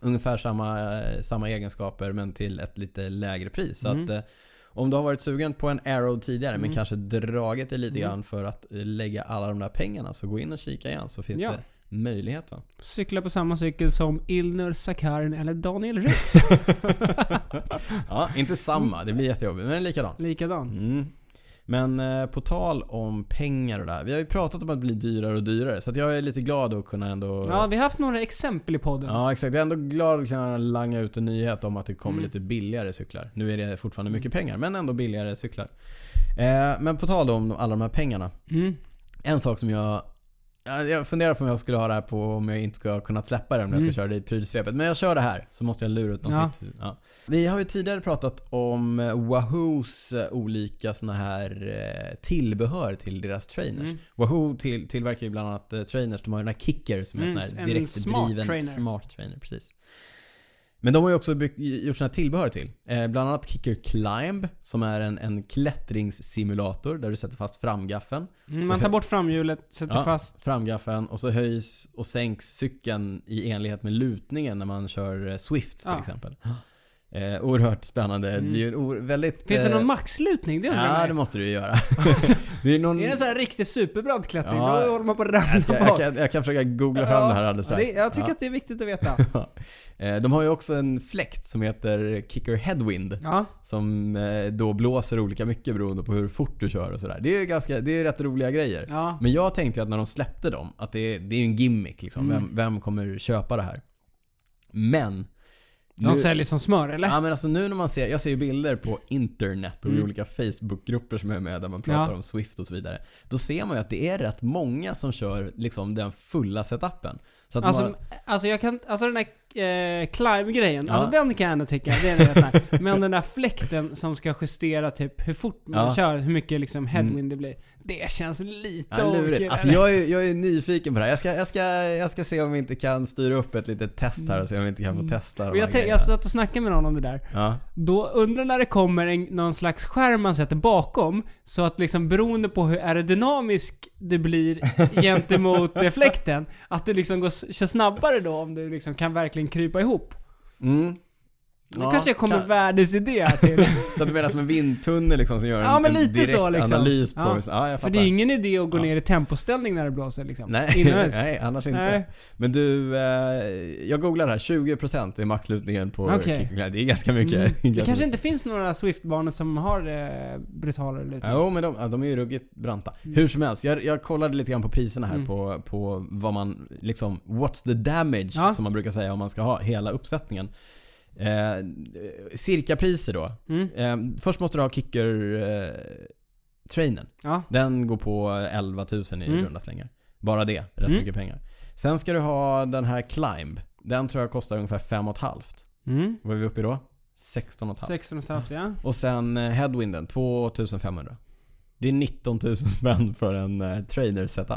B: Ungefär samma, eh, samma egenskaper men till ett lite lägre pris. Så
A: Mm.
B: att, eh, om du har varit sugen på en Arrow tidigare men
A: Mm.
B: kanske dragit dig lite
A: Mm.
B: grann för att eh, lägga alla de där pengarna så gå in och kika igen så finns
A: Ja.
B: det möjlighet. Va?
A: Cykla på samma cykel som Ilnur Sakarin eller Daniel Rytz.
B: Ja, inte samma. Det blir jättejobbigt men likadan.
A: Likadan.
B: Mm. Men eh, på tal om pengar och det här. Vi har ju pratat om att bli dyrare och dyrare så att jag är lite glad att kunna ändå
A: Ja, vi har haft några exempel i podden.
B: Mm. Ja, exakt. Jag är ändå glad att kunna langa ut en nyhet om att det kommer
A: Mm.
B: lite billigare cyklar. Nu är det fortfarande mycket pengar, men ändå billigare cyklar. Eh, men på tal om alla de här pengarna.
A: Mm.
B: En sak som jag... ja, Jag funderar på om jag skulle ha det här på om jag inte skulle ha kunnat släppa det om jag
A: Mm.
B: ska köra det i prylsvepet. Men jag kör det här så måste jag lura ut något
A: Ja.
B: nytt. Ja. Vi har ju tidigare pratat om eh, Wahoos eh, olika såna här eh, tillbehör till deras trainers.
A: Mm.
B: Wahoo till, tillverkar ju bland annat eh, trainers. De har ju den här Kicker som är
A: Mm,
B: en sån här
A: en
B: direkt
A: smart
B: driven
A: trainer.
B: smart trainer. Precis. Men de har ju också byggt, gjort såna här tillbehör till. Eh, bland annat Kicker Climb som är en, en klättringssimulator där du sätter fast framgaffeln.
A: Mm,
B: Så
A: Man tar
B: här-
A: bort framhjulet, sätter
B: Ja.
A: fast.
B: Framgaffeln och så höjs och sänks cykeln i enlighet med lutningen när man kör eh, Swift till
A: Ja. Mm.
B: exempel. Eh, oerhört spännande. Det är ju en or- väldigt...
A: Finns det
B: eh,
A: någon maxlutning? Det undrar
B: Ja,
A: jag.
B: det måste du ju göra. det är någon...
A: Är det en sån här riktigt superbrant klättring?
B: Ja.
A: Då håller man på att
B: jag,
A: ramla
B: ska,
A: bak.
B: jag, kan, jag kan försöka googla fram
A: Ja.
B: det här alldeles
A: Ja, det,
B: strax.
A: jag tycker
B: Ja.
A: att det är viktigt att veta.
B: Eh, De har ju också en fläkt som heter Kicker Headwind.
A: Ja.
B: Som eh, då blåser olika mycket beroende på hur fort du kör och sådär. Det är ju ganska, det är ju rätt roliga grejer.
A: ja.
B: Men jag tänkte ju att när de släppte dem, att det är, det är ju en gimmick liksom.
A: Mm.
B: Vem, vem kommer köpa det här? Men...
A: De säljer som smör, eller?
B: Ja men alltså nu när man ser, jag ser ju bilder på internet och i
A: Mm.
B: olika Facebookgrupper som är med där man pratar
A: Ja.
B: om Swift och så vidare. Då ser man ju att det är rätt många som kör liksom den fulla setupen. Så att de
A: Alltså,
B: har-
A: alltså jag kan... Alltså den här eh, climb-grejen,
B: Ja.
A: alltså den kan jag ändå tycka, det är rätt nice. Men den där fläkten som ska justera typ hur fort man
B: Ja. Mm.
A: kör, hur mycket liksom headwind det blir. Det känns lite
B: Ja, lurigt.
A: overkill,
B: Alltså
A: eller?
B: jag är, jag är nyfiken på det här. Jag ska, jag, ska, jag ska se om vi inte kan styra upp ett litet test här och se om vi inte kan få testa de
A: Mm. Men
B: här
A: jag, alltså- tänk,
B: grejerna.
A: jag satt och snackade med någon om det där.
B: Ja.
A: Då undrar när det kommer en, någon slags skärm man sätter bakom så att liksom beroende på hur aerodynamisk du blir gentemot eh, fläkten, att du liksom går, s- kör snabbare då om du liksom kan verkligen krypa ihop.
B: Mm.
A: Nu
B: Ja,
A: kanske jag kommer
B: kan-
A: världens idé här till.
B: Så att du menar som en vindtunnel liksom som gör en,
A: Ja, men
B: en
A: lite
B: direkt
A: så, liksom.
B: analys på
A: Ja.
B: hur- ja jag
A: För
B: fattar.
A: det är ingen idé att gå
B: Ja.
A: ner i tempoställning när det blåser liksom.
B: Nej,
A: Inomhus.
B: nej, annars inte.
A: Nej.
B: Men du, eh, jag googlar här. 20% är maxlutningen på
A: Okej.
B: kick och glide. Det är ganska mycket.
A: Mm.
B: är
A: Det
B: ganska
A: kanske
B: mycket.
A: inte finns några Swift-banor som har eh, brutalare lutning.
B: Jo, men de, ja, de är ju ruggigt branta. Hur som helst, jag, jag kollade lite grann på priserna här
A: Mm.
B: på, på vad man liksom, what's the damage
A: Ja.
B: som man brukar säga om man ska ha hela uppsättningen. Eh, cirka priser då.
A: Mm.
B: Eh, först måste du ha kicker eh, trainen.
A: Ja.
B: Den går på 11 000 i
A: Mm.
B: runda slängar. Bara det, rätt
A: Mm.
B: mycket pengar. Sen ska du ha den här climb. Den tror jag kostar ungefär 5,5.
A: Mm.
B: Vad är vi uppe i då? 16,5.
A: 16,5 ja.
B: Och sen eh, headwinden, 2500. Det är 19 000 spänn för en eh, trainer setup.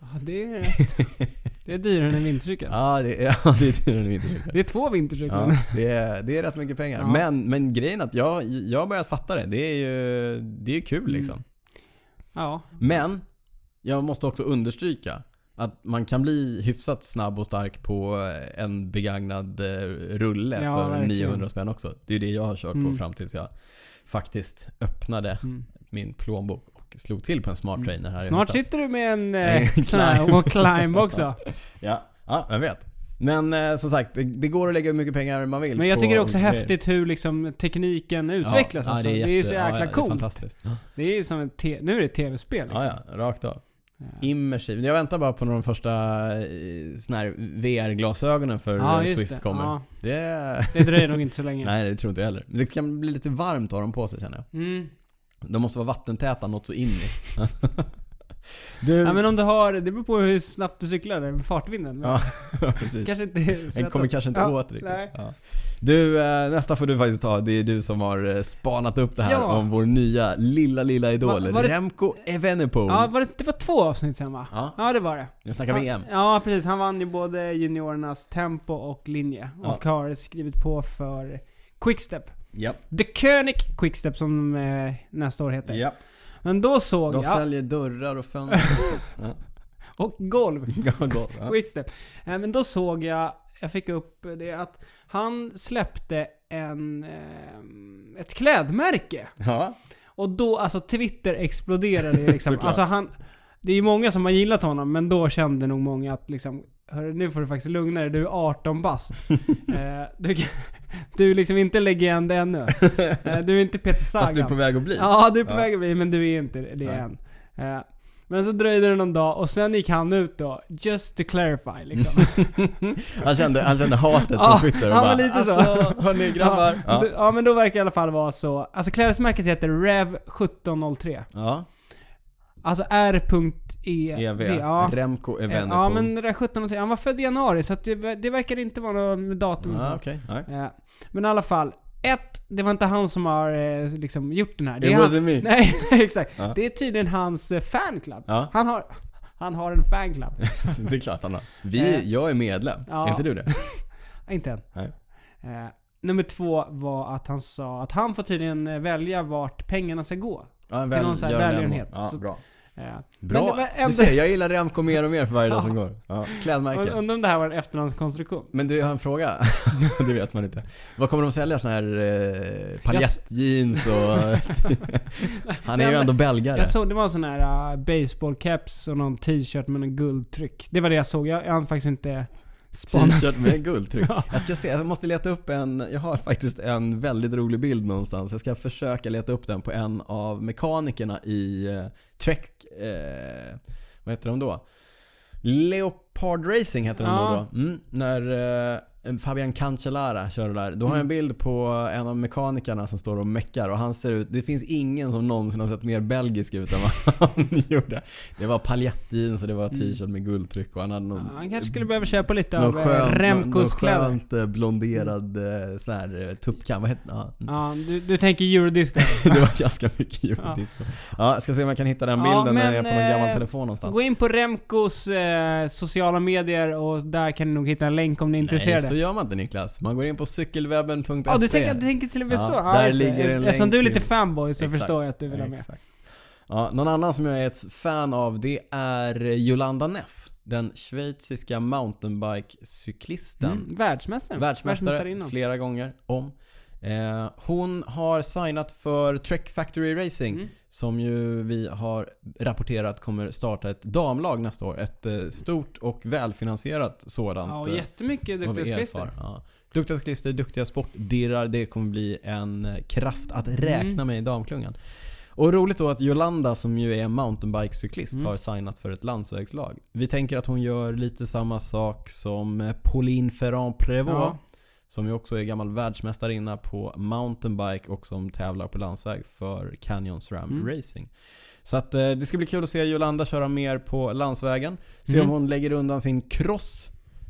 A: ja. Det är rätt. Det är dyrare än en vintercykel.
B: Ja, det är, ja, det är tydligen inte mycket.
A: Det är två vintercyklar.
B: Ja, det, är, det är rätt mycket pengar.
A: Ja.
B: Men, men grejen är att jag, jag har börjat fatta det. Det är ju det är kul liksom.
A: Ja.
B: Men jag måste också understryka att man kan bli hyfsat snabb och stark på eh, en begagnad eh, rulle
A: Ja,
B: för
A: verkligen.
B: 900 spänn också. Det är ju det jag har kört
A: Mm.
B: på fram tills jag faktiskt öppnade
A: Mm.
B: min plånbok och slog till på en smart trainer här i
A: Snart
B: höstas.
A: sitter du med en
B: Nej,
A: eh, sån här
B: climb.
A: och climb också.
B: Ja, ja, vem vet. Men eh, som sagt, det, det går att lägga hur mycket pengar man vill
A: Men jag
B: på
A: tycker det är också
B: grejer.
A: häftigt hur liksom tekniken
B: Ja,
A: utvecklas
B: ja,
A: alltså.
B: det, är
A: ju
B: jätte-
A: så
B: ja,
A: jäkla
B: ja, Det är
A: coolt.
B: fantastiskt.
A: Det är ju som ett te- nu är det ett tv-spel liksom.
B: Ja, ja, rakt av.
A: Ja.
B: Immersiv. Jag väntar bara på när de första eh, såna här VR-glasögonen för eh,
A: just
B: Swift
A: det.
B: kommer.
A: Ja,
B: Det...
A: det dröjer nog inte så länge.
B: Nej, det tror inte jag heller. Men det kan bli lite varmt att ha dem på sig känner jag.
A: Mm.
B: De måste vara vattentäta något så in i. du...
A: Ja, men om du har, det beror på hur snabbt du cyklar där med fartvinden. Men
B: Ja, precis.
A: kanske inte är så
B: Den kommer
A: lätt att-
B: kanske inte
A: ja,
B: åt riktigt.
A: nej.
B: Ja. Du, eh, nästa får du faktiskt ta. Det är du som har eh, spanat upp det här
A: Ja.
B: om vår nya lilla, lilla idol.
A: Va- var det-
B: Remco Evenepoel.
A: Ja, var det, det var två avsnitt sen va?
B: Ja.
A: Ja, det var det.
B: Nu snackar VM.
A: Ja, precis. Han vann ju både juniorernas tempo och linje. Och har skrivit på för Quickstep.
B: Ja.
A: The König Quickstep som eh, nästa år heter.
B: ja.
A: Men då såg
B: De
A: jag...
B: säljer dörrar och fönster.
A: Och golv.
B: ja, gott. Ja.
A: Quickstep. Eh, Men då såg jag, jag fick upp det att han släppte en, eh, ett klädmärke.
B: ja.
A: Och då, alltså Twitter exploderade ju liksom.
B: Såklart.
A: alltså han, det är ju många som har gillat honom, men då kände nog många att liksom, hörru, nu får du faktiskt lugna dig, du är 18 bast. eh, du, kan- du är liksom inte legend ännu. Eh, du är inte Peter Sagan.
B: Fast du är på väg att bli.
A: Ja, du är på
B: Ja.
A: väg att bli, men du är inte det
B: Nej.
A: än. Eh, Men så dröjde det någon dag och sen gick han ut då, just to clarify liksom.
B: Han, kände, han kände hatet
A: Ja,
B: från Twitter. och
A: ja,
B: bara,
A: men lite så.
B: Alltså, hörni grabbar.
A: Ja,
B: Ja.
A: d- ja men då verkar det i alla fall vara så. Alltså klädesmärket heter REV1703.
B: Ja,
A: Alltså R.E.
B: EV.
A: Ja.
B: Remco Evenepoel.
A: ja men det där 1703, han var född i januari så att det, ver- det verkar inte vara något datum och
B: Ja,
A: så.
B: okej. Nej.
A: Eh, Men i alla fall. Ett, det var inte han som har eh, liksom gjort den här. Det
B: It
A: är han,
B: wasn't me.
A: Nej, exakt.
B: Ja.
A: Det är tydligen hans eh, fanclub.
B: Ja.
A: Han, har, han har en fanclub.
B: det är klart han har. Vi, jag är medlem.
A: Eh. Ja.
B: Är inte du det?
A: Inte än.
B: Nej.
A: Eh, nummer två var att han sa att han får tydligen eh, välja vart pengarna ska gå.
B: Ja,
A: Till någon sån här
B: gör en
A: välgörenhet.
B: demo. Ja,
A: Så-
B: bra.
A: Eh, Men det
B: Bra.
A: var
B: Du
A: ändå,
B: ser, jag gillar Remco mer och mer för varje dag som går. Ja.
A: und-
B: Klädmärken.
A: undrar om det här var en efterhandskonstruktion.
B: Men du, jag har en fråga. det vet man inte. Vad kommer de sälja? Såna här eh, paljettjeans och... han är ju
A: men-
B: ändå belgare.
A: Jag såg, det var en sån här uh, baseballcaps och någon t-shirt med en guldtryck. Det var det jag såg. Jag, jag hann faktiskt inte spana.
B: T-shirt med guldtryck.
A: Ja.
B: Jag ska se, jag måste leta upp en, jag har faktiskt en väldigt rolig bild någonstans. Jag ska försöka leta upp den på en av mekanikerna i eh, Trek, eh, vad heter de då? Leop Hard Racing heter den
A: Ja.
B: då. Mm, när eh, Fabian Cancellara körde där. Då
A: Mm.
B: har jag en bild på en av mekanikerna som står och meckar och han ser ut... Det finns ingen som någonsin har sett mer belgisk ut än vad han gjorde. Det var paljettjeans och det var t-shirt med guldtryck och han hade någon...
A: Mm. Ja, Han kanske skulle behöva köpa lite
B: någon
A: av eh,
B: skön, någon
A: Remcos kläder.
B: skönt eh, blonderad eh, sån här eh, tuppkam. Vad hette ja.
A: Ja, du, du tänker eurodisco.
B: Det var ganska mycket eurodisco. Ja, jag ska se om jag kan hitta den
A: Ja,
B: bilden
A: men,
B: när jag är på någon gammal
A: eh,
B: telefon någonstans.
A: Gå in på Remcos eh, sociala medier och där kan ni nog hitta en länk om ni är
B: Nej, så
A: intresserade.
B: gör man inte Niklas. Man går in på cykelwebben.se.
A: Ja, du tänker, du tänker till och med
B: Ja,
A: så?
B: där
A: just det.
B: ligger en
A: Eftersom
B: länk
A: du är lite
B: till-
A: fanboy så
B: Exakt.
A: förstår jag att du vill ha med.
B: Exakt. Ja, någon annan som jag är ett fan av det är Jolanda Neff. Den schweiziska mountainbike-cyklisten.
A: Mm. Världsmästaren.
B: Världsmästare
A: Världsmästarinnan.
B: flera gånger om. Eh, hon har signat för Trek Factory Racing
A: Mm.
B: som ju vi har rapporterat kommer starta ett damlag nästa år. Ett eh, stort och välfinansierat sådant.
A: Ja, och
B: eh,
A: jättemycket
B: vad vi
A: duktiga cyklister.
B: erfar. Ja. Duktiga cyklister, duktiga sportdirrar. Det kommer bli en eh, kraft att räkna
A: Mm.
B: med i damklungan. Och roligt då att Jolanda som ju är mountainbikecyklist
A: Mm.
B: har signat för ett landsvägslag. Vi tänker att hon gör lite samma sak som eh, Pauline Ferrand-Prévot.
A: Ja.
B: Som ju också är gammal världsmästarinna på mountainbike och som tävlar på landsväg för Canyon SRAM
A: Mm.
B: Racing. Så att eh, det ska bli kul att se Jolanda köra mer på landsvägen. Se om hon lägger undan sin cross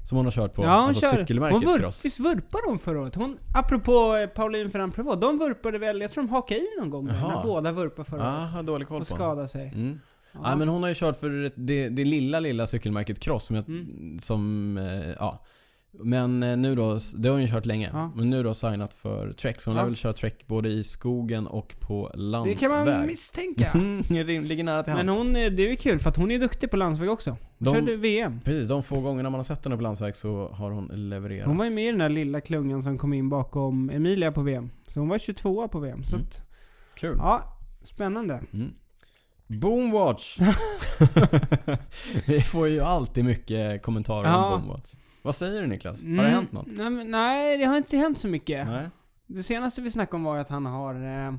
B: som hon har kört på.
A: Mm. Ja, hon
B: alltså
A: kör.
B: cykelmärket
A: Hon vurp,
B: cross.
A: visst vurpade hon förra året? Hon, apropå eh, Pauline Ferrand Prévot, de vurpade väl, jag tror de hakade i någon gång
B: Jaha.
A: när båda vurpade förra
B: Ja,
A: året.
B: har dålig koll
A: Och
B: på henne.
A: skadade sig.
B: Mm. Ja, men hon har ju kört för ett- det, det lilla, lilla cykelmärket Cross som jag,
A: Mm.
B: som, eh, ja. Men eh, nu då, det har hon ju kört länge.
A: Ja.
B: Men nu då signat för Trek. Så hon
A: Ja.
B: lär väl köra Trek både i skogen och på
A: Det
B: landsväg.
A: kan man misstänka.
B: Mm, det ligger nära till hands.
A: Men hon, eh, det är ju kul för att hon är duktig på landsväg också. Hon
B: De-
A: körde VM.
B: Precis, de få gångerna man har sett henne på landsväg så har hon levererat.
A: Hon var ju med i den där lilla klungan som kom in bakom Emilia på VM. Så hon var 22 på VM.
B: Mm.
A: Så att,
B: Kul.
A: ja, spännande.
B: Boomwatch! Vi får ju alltid mycket kommentarer
A: Ja.
B: om Boomwatch. Vad säger du Niklas? Har det hänt något?
A: Mm, Nej, men, nej, det har inte hänt så mycket.
B: Nej.
A: Det senaste vi snackade om var ju att han har eh,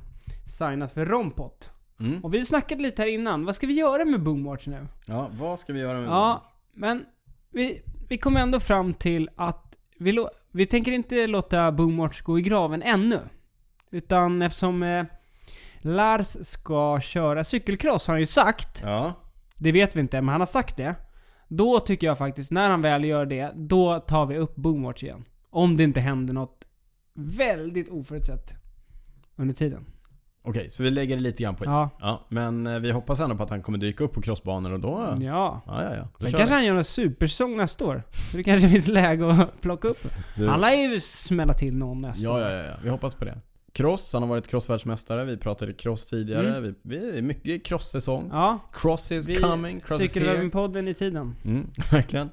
A: signat för Rompot.
B: Mm.
A: Och vi snackade lite här innan. Vad ska vi göra med Boomwatch nu?
B: Ja, vad ska vi göra med
A: Ja, men vi, vi kom ändå fram till att vi, lo- vi tänker inte låta Boomwatch gå i graven ännu. Utan eftersom eh, Lars ska köra cykelcross har han ju sagt.
B: Ja.
A: Det vet vi inte, men han har sagt det. Då tycker jag faktiskt, när han väl gör det, då tar vi upp Boomwatch igen. Om det inte händer något väldigt oförutsett under tiden.
B: Okej, så vi lägger det lite grann på is. Ja.
A: Ja.
B: men eh, vi hoppas ändå på att han kommer dyka upp på crossbanor och då... Ja,
A: Ja.
B: ja, ja. Då
A: Sen
B: kör
A: kanske
B: vi.
A: han gör en supersäsong nästa år. Så det kanske finns läge att plocka upp
B: Du-
A: Han lär ju smälla till någon nästa
B: Ja,
A: år.
B: ja, ja, ja. Vi hoppas på det. Cross, han har varit crossvärldsmästare. Vi pratade cross tidigare.
A: Mm.
B: Vi, vi är mycket det är cross-säsong.
A: Ja,
B: Cross is
A: Vi
B: coming, cross is here.
A: Cykelwebben-podden i tiden.
B: Mm, verkligen.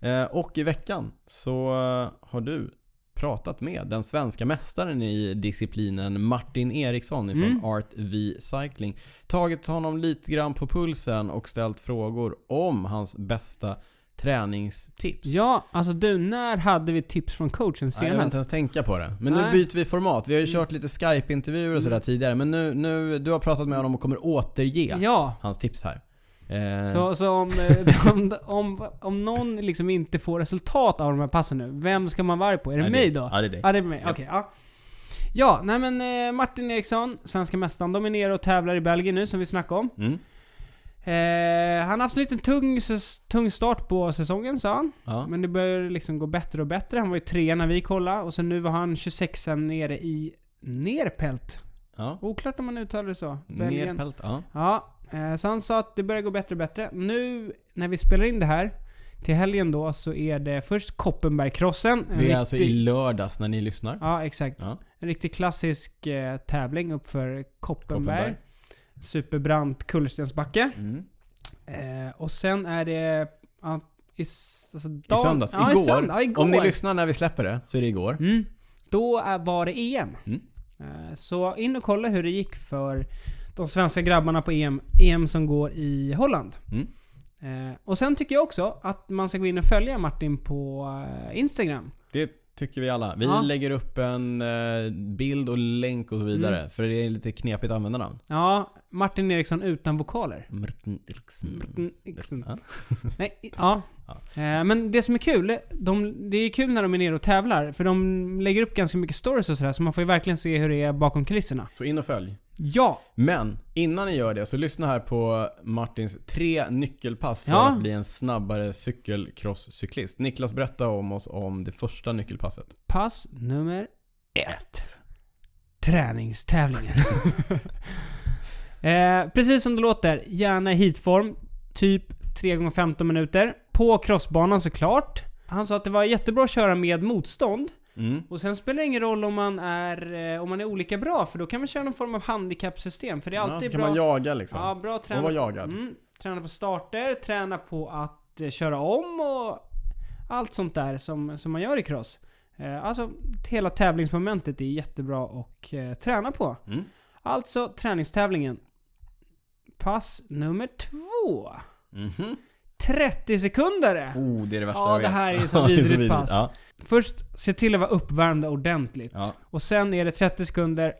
B: Eh, och i veckan så eh, har du pratat med den svenska mästaren i disciplinen Martin Eriksson ifrån
A: Mm.
B: Art V Cycling. Tagit honom lite grann på pulsen och ställt frågor om hans bästa träningstips.
A: Ja, alltså du, när hade vi tips från coachen
B: Nej, jag vill inte
A: senast?
B: ens tänka på det. Men nu
A: Nej. Mm.
B: byter vi format. Vi har ju kört lite Skype-intervjuer och sådär tidigare. Men nu, nu, du har pratat med honom och kommer återge
A: Ja.
B: hans tips här. Eh,
A: Så, så om, eh, om, om, om någon liksom inte får resultat av de här passen nu, vem ska man vara arg på? Är det
B: nej,
A: mig då?
B: Ja, det är dig.
A: Ja, det är mig.
B: Ja.
A: Okej, ja. Ja, nej men eh, Martin Eriksson, svenska mästaren, de är nere och tävlar i Belgien nu som vi snackade om.
B: Mm.
A: Eh, han har haft en liten tung, säs- tung start på säsongen sa han.
B: Ja.
A: Men det börjar liksom gå bättre och bättre. Han var ju trea när vi kollade och sen nu var han 26 nere i Nerpelt.
B: Ja.
A: Oklart om man uttalar det så. Belgien.
B: Nerpält, ja.
A: Ja, eh, så han sa att det börjar gå bättre och bättre. Nu när vi spelar in det här till helgen då så är det först Koppenbergkrossen. En
B: Det är alltså i lördags när ni lyssnar.
A: Ja, exakt.
B: Ja.
A: En riktig klassisk eh, tävling uppför Koppenberg.
B: Koppenberg.
A: Superbrant kullerstensbacke.
B: Mm.
A: Eh, och sen är det... Ja, i, s- alltså,
B: I
A: dag-
B: söndags.
A: Ja,
B: igår.
A: I söndag, ja, igår.
B: Om ni lyssnar när vi släpper det så är det igår.
A: Mm. Då är- var det EM.
B: Mm.
A: Eh, Så in och kolla hur det gick för de svenska grabbarna på EM, EM som går i Holland.
B: Mm.
A: Eh, Och sen tycker jag också att man ska gå in och följa Martin på eh, Instagram.
B: Det tycker vi alla. Vi
A: Ja.
B: lägger
A: Mm.
B: upp en eh, bild och länk och så vidare. För det är lite knepigt användarnamn.
A: Ja, Martin Eriksson utan vokaler.
B: Martin Eriksson.
A: Mm, Eriksson.
B: Ja.
A: Nej, i- ja. Eh, Men det som är kul, de, det är kul när de är nere och tävlar. För de lägger upp ganska mycket stories och sådär, så man får ju verkligen se hur det är bakom kulisserna.
B: Så in och följ.
A: Ja!
B: Men innan ni gör det så lyssna här på Martins tre nyckelpass för
A: Ja.
B: att bli en snabbare cykelcrosscyklist. Niklas berätta om oss om det första nyckelpasset.
A: Pass nummer ett. Träningstävlingen. eh, precis som det låter, gärna i hitform. Typ 3 gånger 15 minuter. På crossbanan såklart. Han sa att det var jättebra att köra med motstånd.
B: Mm.
A: Och sen spelar det ingen roll om man är, eh, om man är olika bra, för då kan man köra någon form av handikappsystem. För det är
B: Ja,
A: alltid
B: så kan
A: bra...
B: man jaga liksom.
A: Ja, bra träna.
B: Och vara jagad.
A: Mm, träna på starter, träna på att eh, köra om och allt sånt där som, som man gör i cross. Eh, alltså, hela tävlingsmomentet är jättebra att eh, träna på.
B: Mm.
A: Alltså träningstävlingen. Pass nummer två.
B: Mhm.
A: 30 sekundare.
B: Oh, det är det värsta
A: Ja,
B: jag
A: det
B: vet.
A: här är så
B: Ja, det
A: vidrigt pass.
B: Ja.
A: Först, se till att vara uppvärmda ordentligt.
B: Ja.
A: Och sen är det 30 sekunder,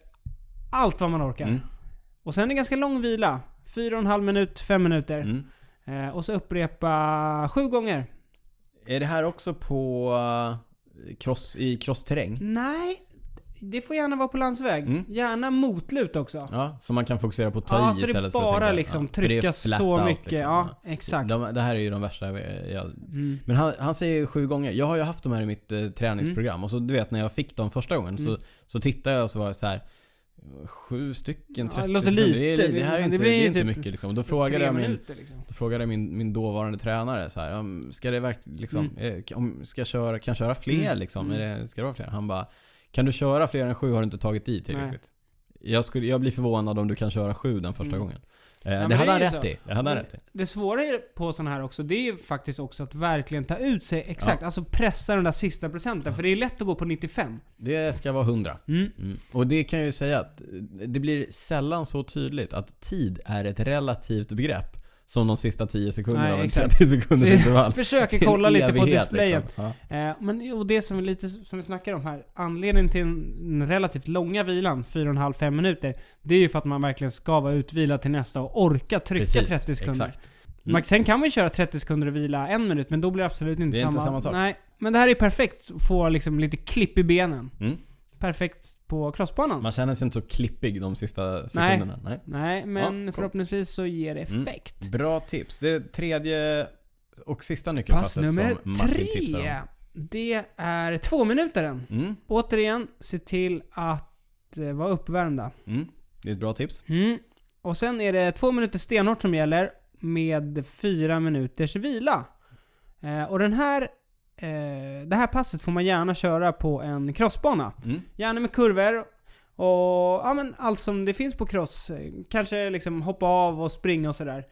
A: allt vad man orkar.
B: Mm.
A: Och sen är det ganska lång vila. 4,5 minut, 5 minuter.
B: Mm.
A: Eh, och så upprepa sju gånger.
B: Är det här också på eh, cross, i
A: Mm.
B: crossterräng?
A: Nej, det får gärna vara på landsväg.
B: Mm.
A: Gärna motlut också.
B: Ja, så man kan fokusera på att ta
A: Ja,
B: i
A: så det är
B: istället för att
A: bara
B: tänka,
A: liksom
B: för det liksom. är
A: trycka
B: flat
A: så
B: out,
A: mycket. Ja, exakt.
B: De, det här är ju de värsta jag, jag
A: Mm.
B: Men han, han säger ju sju gånger. Jag har ju haft de här i mitt eh, träningsprogram
A: Mm.
B: och så du vet när jag fick dem första gången så, så tittade jag och så var det så här Sju stycken, 30
A: det låter
B: sekunder. Det, är,
A: lite.
B: li- det här är
A: Det
B: inte, det
A: blir
B: är
A: ju
B: inte
A: typ
B: mycket liksom. Och Då
A: Tre
B: frågade jag min,
A: minuter liksom.
B: då frågade jag min, min dåvarande tränare så här, "Ja, men ska det verkligen liksom, eh, om, ska jag köra, kan jag köra fler
A: Mm.
B: liksom?
A: Mm.
B: Är det, ska det vara fler? Han bara, kan du köra fler än sju har du inte tagit i tillräckligt. Jag, skulle, jag blir förvånad om du kan köra sju den första
A: Mm.
B: gången. Eh,
A: men
B: det
A: det
B: hade
A: är
B: han
A: ju
B: rätt
A: så. Mm.
B: i. Det hade han
A: Men-
B: rätt i.
A: Det svåra är på sådana här också, det är ju faktiskt också att verkligen ta ut sig exakt. Alltså pressa den där sista procenten. För det är lätt att gå på 95.
B: Det ska vara 100.
A: Mm.
B: Mm. Och det kan jag ju säga att eh, det blir sällan så tydligt att tid är ett relativt begrepp som de sista 10 sekunderna
A: Nej,
B: av en
A: exakt.
B: 30 sekunders
A: Så-
B: intervall.
A: Försöker
B: Det är en
A: kolla lite på
B: evighet,
A: displayen.
B: liksom. Ja.
A: Eh, men och det som vi, lite, som vi snackar om här, anledningen till den relativt långa vilan, 4,5-5 minuter, det är ju för att man verkligen ska vara utvilad till nästa och orka trycka
B: Precis,
A: 30 sekunder.
B: Exakt. Mm.
A: Man, sen kan man ju köra 30 sekunder och vila en minut, men då blir det absolut inte,
B: Det är
A: samma,
B: inte samma sak.
A: Nej, men det här är perfekt att få liksom lite klipp i benen.
B: Mm.
A: Perfekt på crossbanan.
B: Man känner sig inte så klippig de sista sekunderna. Nej.
A: Nej, men
B: Ja, cool.
A: förhoppningsvis så ger det
B: Mm.
A: effekt.
B: Bra tips. Det tredje och sista
A: Pass
B: nyckelpasset
A: nummer
B: som Martin tipsade
A: tre. Det är två minutaren.
B: om. Mm.
A: Återigen, se till att eh, vara uppvärmda.
B: Mm. Det är ett bra tips.
A: Mm. Och sen är det två minuter stenhårt som gäller med fyra minuters vila. Eh, och den här, eh, det här passet får man gärna köra på en crossbana.
B: Mm.
A: Gärna med kurvor och ja, men allt som det finns på cross. Eh, Kanske liksom hoppa av och springa och sådär.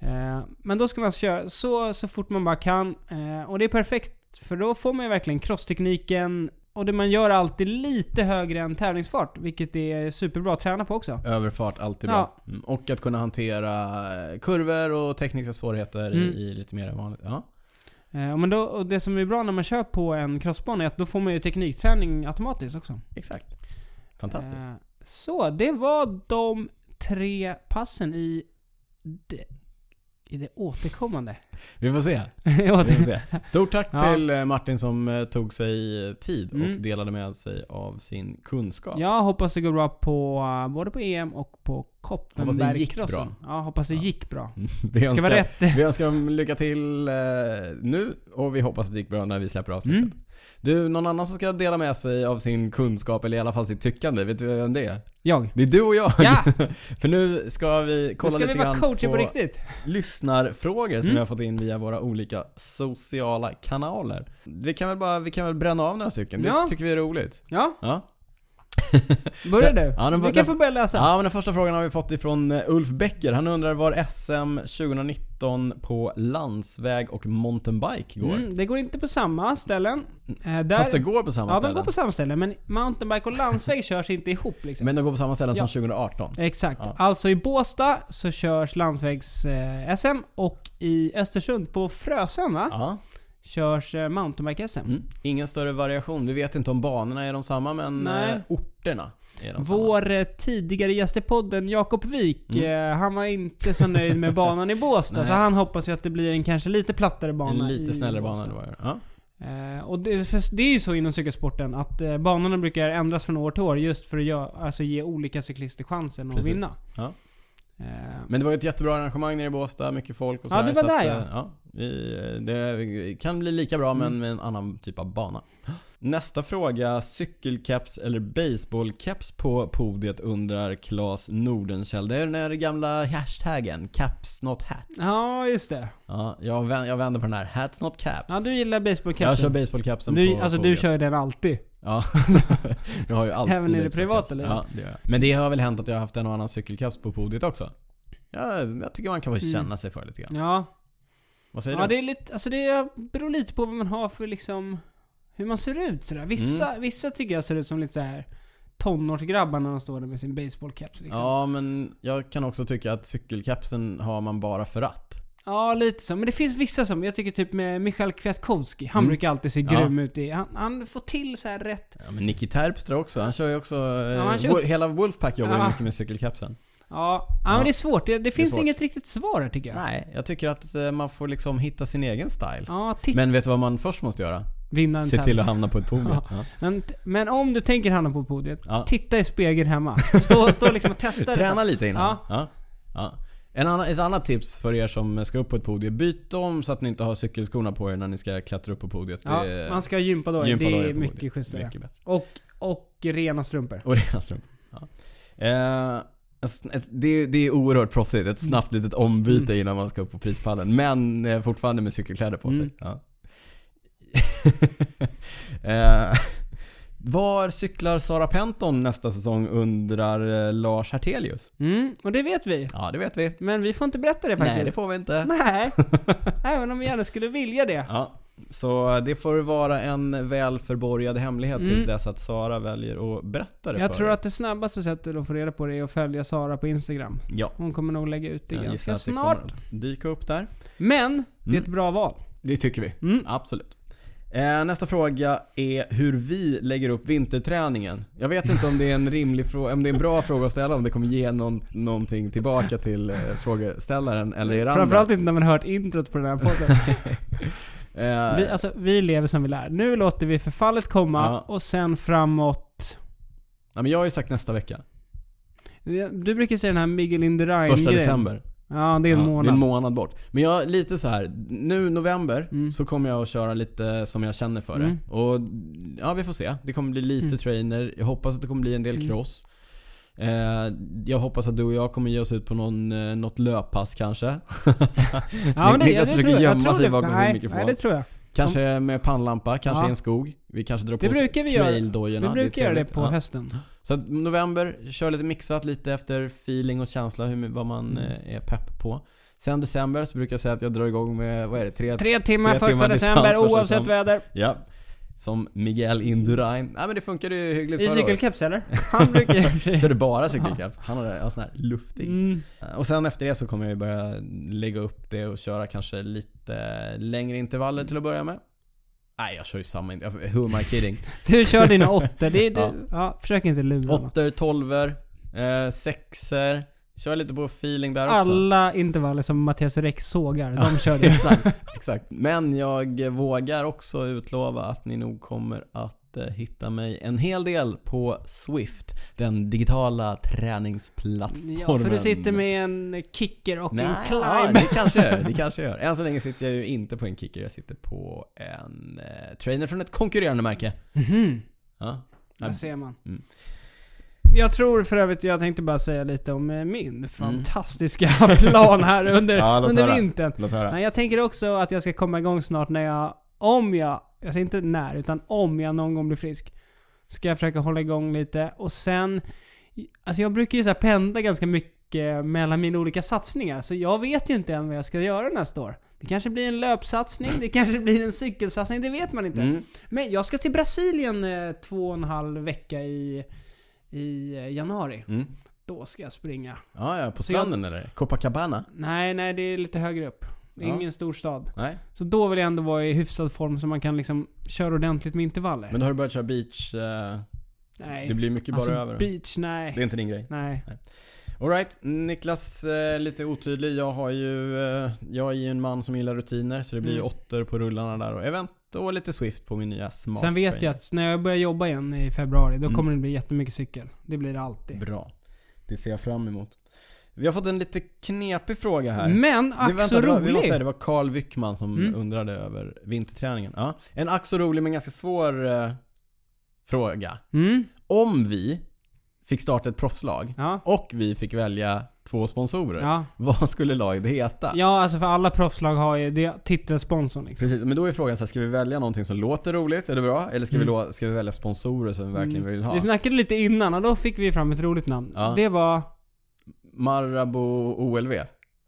A: Eh, men då ska man köra så, så fort man bara kan. Eh, och det är perfekt för då får man ju verkligen crosstekniken och det man gör alltid lite högre än tävlingsfart. Vilket är superbra att träna på också.
B: Överfart, alltid bra. Mm. Och att kunna hantera kurvor och tekniska svårigheter i-
A: Mm.
B: i lite mer än vanligt. Ja.
A: Eh, men då, och det som är bra när man kör på en crossbana är att då får man ju teknikträning automatiskt också.
B: Exakt. Fantastiskt.
A: Eh, så, det var de tre passen i det, i det återkommande.
B: Vi får se. Vi får
A: Åter-
B: se. Stort tack
A: Ja.
B: till eh, Martin som eh, tog sig tid och
A: Mm.
B: delade med sig av sin kunskap.
A: Jag hoppas det går bra på eh, både på EM och på
B: Hoppas det gick
A: Koppenbergkrossen.
B: bra.
A: Ja, hoppas det
B: Ja.
A: gick bra.
B: Mm. Vi,
A: Ska
B: önskar,
A: vara rätt.
B: vi önskar dem lycka till eh, nu och vi hoppas att det gick bra när vi släpper avsnittet.
A: Mm.
B: Du, någon annan som ska dela med sig av sin kunskap eller i alla fall sitt tyckande, vet du vem det är?
A: Jag.
B: Det är du och jag!
A: Ja!
B: För nu ska vi
A: Nu
B: kolla
A: ska vi
B: lite
A: vara
B: grann
A: coacher på
B: på
A: riktigt.
B: lyssnarfrågor som
A: Mm.
B: vi har fått in via våra olika sociala kanaler. Vi kan väl bara vi kan väl bränna av några stycken, det
A: Ja.
B: tycker vi är roligt.
A: Ja,
B: Ja.
A: börja du.
B: Ja, den-
A: vi
B: den-
A: kan få börja läsa.
B: Ja, men den första frågan har vi fått ifrån eh, Ulf Bäcker. Han undrar var SM 2019 på landsväg och mountainbike går.
A: Mm, det går inte på samma ställen. Eh, där,
B: Fast det går på samma
A: ja, de
B: ställen.
A: går på samma ställen. Men mountainbike och landsväg körs inte ihop liksom.
B: Men de går på samma ställen
A: Ja.
B: som 2018.
A: Exakt.
B: Ja.
A: Alltså i Båstad så körs landsvägs-SM och i Östersund på Frösön va?
B: Ja.
A: Körs eh, mountainbike-SM.
B: Mm. Ingen större variation. Vi vet inte om banorna är de samma men
A: Nej.
B: eh, orterna Är de samma? Mm.
A: Vår eh, tidigare gäst i podden, Jakob Wik, eh, han var inte så nöjd med banan i Båstad.
B: Nej.
A: så han hoppas ju att det blir en kanske lite plattare bana
B: En
A: i
B: lite snällare bana
A: Båstad.
B: än det var. Ja.
A: Eh, och det, för det är ju så inom cykelsporten att eh, banorna brukar ändras från år till år just för att göra, alltså ge olika cyklister chansen att
B: Precis.
A: vinna.
B: Ja.
A: Eh,
B: Men det var ju ett jättebra arrangemang nere i Båstad, mycket folk och
A: Ja, Mm.
B: sådär.
A: det var
B: så att,
A: där,
B: eh, ja. vi, eh, det kan bli lika bra men med en annan typ av bana. Nästa fråga. Cykelcaps eller baseballcaps på podiet undrar Claes Nordenskjöld. Det är den här gamla hashtaggen Caps Not Hats.
A: ja, just det.
B: Ja, jag, vänder, jag vänder på den här. Hats Not Caps.
A: Ja, du gillar
B: jag kör
A: basebollcapsen.
B: baseballcapsen
A: Du,
B: på
A: alltså du
B: podiet.
A: kör ju den alltid.
B: Ja, jag har ju alltid
A: Även i det
B: baseballcaps.
A: privata livet.
B: Ja, det gör jag. Men det har väl hänt att jag har haft en och annan cykelcaps på podiet också. Ja, jag tycker man kan väl känna sig för lite grann.
A: Ja.
B: Vad säger
A: Mm. Ja,
B: du?
A: det är lite, alltså det beror lite på vad man har för liksom hur man ser ut sådär. Vissa, vissa tycker jag ser ut som lite så här tonårsgrabbar när de står där med sin baseballcaps liksom. Ja.
B: Ja, men jag kan också tycka att cykelkapsen har man bara för att.
A: lite så. Men det finns vissa som, jag tycker typ med Michail Kwiatkowski, han brukar alltid se
B: Ja.
A: grym ut i, han, han får till så här rätt.
B: Ja, men Nicky Terpstra också. Han kör ju också...
A: Ja, han
B: eh,
A: kör-
B: Wo- Hela Wolfpack jobbar ju
A: Ja.
B: mycket med cykelkapsen.
A: Ja, ja, men det är svårt. Det, det finns
B: svårt.
A: inget riktigt svar här tycker jag.
B: Nej, jag tycker att eh, man får liksom hitta sin egen style.
A: Ja, titta.
B: Men vet du vad man först måste göra?
A: Vinna en
B: Se
A: tävling.
B: till att hamna på ett podium.
A: Ja.
B: Ja.
A: Men, men om du tänker hamna på podiet,
B: Ja.
A: titta i spegeln hemma. Stå, stå liksom och testa det.
B: Träna lite innan.
A: Ja.
B: Ja. Ja. En annan, ett annat tips för er som ska upp på ett podium. Byt om så att ni inte har cykelskorna på er när ni ska klättra upp på podiet.
A: Ja,
B: Det är-
A: man ska ha gympadojor.
B: gympadojor
A: Det är
B: på podiet.
A: mycket schysstare.
B: Mycket bättre.
A: Och, och rena strumpor.
B: Och rena strumpor. Ja. Eh, ett- ett- det, är- det är oerhört proffsigt. Ett snabbt litet
A: Mm.
B: ombyte innan man ska upp på prispallen. Men eh, fortfarande med cykelkläder på sig.
A: Mm.
B: Ja. Eh, var cyklar Sara Penton nästa säsong undrar eh, Lars Hertelius.
A: Mm, och det vet vi.
B: Ja, det vet vi.
A: Men vi får inte berätta det faktiskt.
B: Nej, det får vi inte.
A: Nej. Även om vi gärna skulle vilja det.
B: Ja, så det får vara en väl förborgad hemlighet tills
A: Mm.
B: dess att Sara väljer att berätta det
A: Jag
B: för
A: tror
B: er.
A: att det snabbaste sättet att få reda på det är att följa Sara på Instagram.
B: Ja.
A: Hon kommer nog lägga ut det
B: jag gissar
A: ganska
B: att det
A: snart.
B: kommer att Dyka upp där.
A: Men, det är
B: Mm.
A: ett bra val.
B: Det tycker vi.
A: Mm.
B: Absolut. Eh, nästa fråga är hur vi lägger upp vinterträningen. Jag vet inte om det är en rimlig fråga, om det är en bra fråga att ställa, om det kommer ge någon, någonting tillbaka till eh, frågeställaren eller er andra.
A: Framförallt inte när man hört introt på den här podden.
B: Eh,
A: Vi, alltså, vi lever som vi lär. Nu låter vi förfallet komma
B: Ja.
A: och sen framåt...
B: ja, men jag har ju sagt nästa vecka.
A: Du brukar säga den här Miguel Indurain
B: Första december.
A: Ja, det är en
B: Ja,
A: månad.
B: Det är en månad bort. Men jag, lite så här. nu november
A: Mm.
B: så kommer jag att köra lite som jag känner för
A: Mm.
B: det. Och ja, vi får se. Det kommer bli lite
A: Mm.
B: trainer. Jag hoppas att det kommer bli en del
A: Mm.
B: cross. Eh, jag hoppas att du och jag kommer ge oss ut på någon, eh, något löppass kanske.
A: ja, men det,
B: Niklas
A: jag, det tror
B: försöker
A: jag,
B: alltså gömma
A: jag tror
B: sig
A: det.
B: bakom sin
A: nej,
B: mikrofon.
A: Nej, det tror jag.
B: Kanske med pannlampa, kanske
A: Ja.
B: i en skog. Vi kanske drar på
A: Det
B: oss
A: brukar vi göra.
B: traildojorna.
A: Vi
B: är
A: brukar göra det
B: trevligt.
A: på
B: Ja.
A: hösten.
B: Så att november, kör lite mixat lite efter feeling och känsla, hur, vad man
A: Mm.
B: eh, är pepp på. Sen december så brukar jag säga att jag drar igång med, vad är det, tre
A: Tre timmar
B: Tre
A: första
B: timmar distans
A: december
B: första
A: oavsett
B: december.
A: väder.
B: Ja. Som Miguel Indurain. Nej men det funkade ju hyggligt
A: I
B: förra året.
A: cykelkeps eller? Han brukar ju...
B: Körde bara cykelcaps. Han har en sån här luftig.
A: Mm.
B: Och sen efter det så kommer jag ju börja lägga upp det och köra kanske lite längre intervaller till att börja med. Nej, jag kör ju samma. jag- Who am I kidding?
A: Du kör dina åttor. Det är du. Ja.
B: Ja.
A: försök inte lura honom.
B: Åttor, tolver, eh, sexer. Kör lite på feeling där också.
A: Alla intervaller som Mattias Rex sågar, de kör det.
B: Exakt, exakt. Men jag vågar också utlova att ni nog kommer att eh, hitta mig en hel del på Swift. Den digitala träningsplattformen.
A: Ja, för du sitter med en kicker och
B: Nej,
A: en
B: ja,
A: climb.
B: det kanske jag gör. Det kanske jag gör. Än så länge sitter jag ju inte på en kicker. Jag sitter på en eh, trainer från ett konkurrerande märke.
A: Mhm.
B: Ja.
A: Där ser man.
B: Mm.
A: Jag tror för övrigt, jag tänkte bara säga lite om eh, min fantastiska plan här under,
B: Mm. Ja, låt
A: under
B: höra.
A: vintern.
B: Låt höra.
A: Nej, jag tänker också att jag ska komma igång snart när jag, om jag, jag säger inte när, utan om jag någon gång blir frisk. Ska jag försöka hålla igång lite och sen, alltså jag brukar ju så här pendla ganska mycket mellan mina olika satsningar. Så jag vet ju inte än vad jag ska göra nästa år. Det kanske blir en löpsatsning, det kanske blir en cykelsatsning, det vet man inte.
B: Mm.
A: Men jag ska till Brasilien eh, två och en halv vecka i, i eh, januari.
B: Mm.
A: Då ska jag springa.
B: Ja, ja, på
A: Så jag-
B: stranden eller? Copacabana?
A: Nej, nej, det är lite högre upp. Det är
B: Ja.
A: ingen stor stad.
B: Nej.
A: Så då vill jag ändå vara i hyfsad form så man kan liksom köra ordentligt med intervaller.
B: Men då har du börjat köra beach... Eh,
A: Nej.
B: Det blir mycket
A: alltså,
B: bara över.
A: beach, nej.
B: Det är inte din grej.
A: Nej.
B: Alright, Niklas eh, lite otydlig. Jag har ju... Eh, jag är ju en man som gillar rutiner så det blir ju
A: Mm.
B: åttor på rullarna där och event och lite Swift på min nya smart.
A: Sen vet jag att när jag börjar jobba igen i februari, då
B: Mm.
A: kommer det bli jättemycket cykel. Det blir det alltid.
B: Bra. Det ser jag fram emot. Vi har fått en lite knepig fråga här.
A: Men
B: Det-
A: Mm, ack
B: vänta,
A: så
B: det var- Vi måste säga,
A: rolig!
B: det var Carl Wyckman som
A: Mm.
B: undrade över vinterträningen. Ja. En ack så rolig men ganska svår eh, fråga.
A: Mm,
B: Om vi fick starta ett proffslag
A: ja.
B: och vi fick välja två sponsorer.
A: Ja.
B: Vad skulle laget heta?
A: ja, alltså för alla proffslag har ju det titelsponsorn liksom.
B: Precis, men då är frågan så här, ska vi välja någonting som låter roligt, är det bra? Eller ska, vi,
A: Mm.
B: lo- ska vi välja sponsorer som vi verkligen vill ha?
A: Vi snackade lite innan och då fick vi fram ett roligt namn.
B: Ja.
A: Det var...
B: Marabou OLV?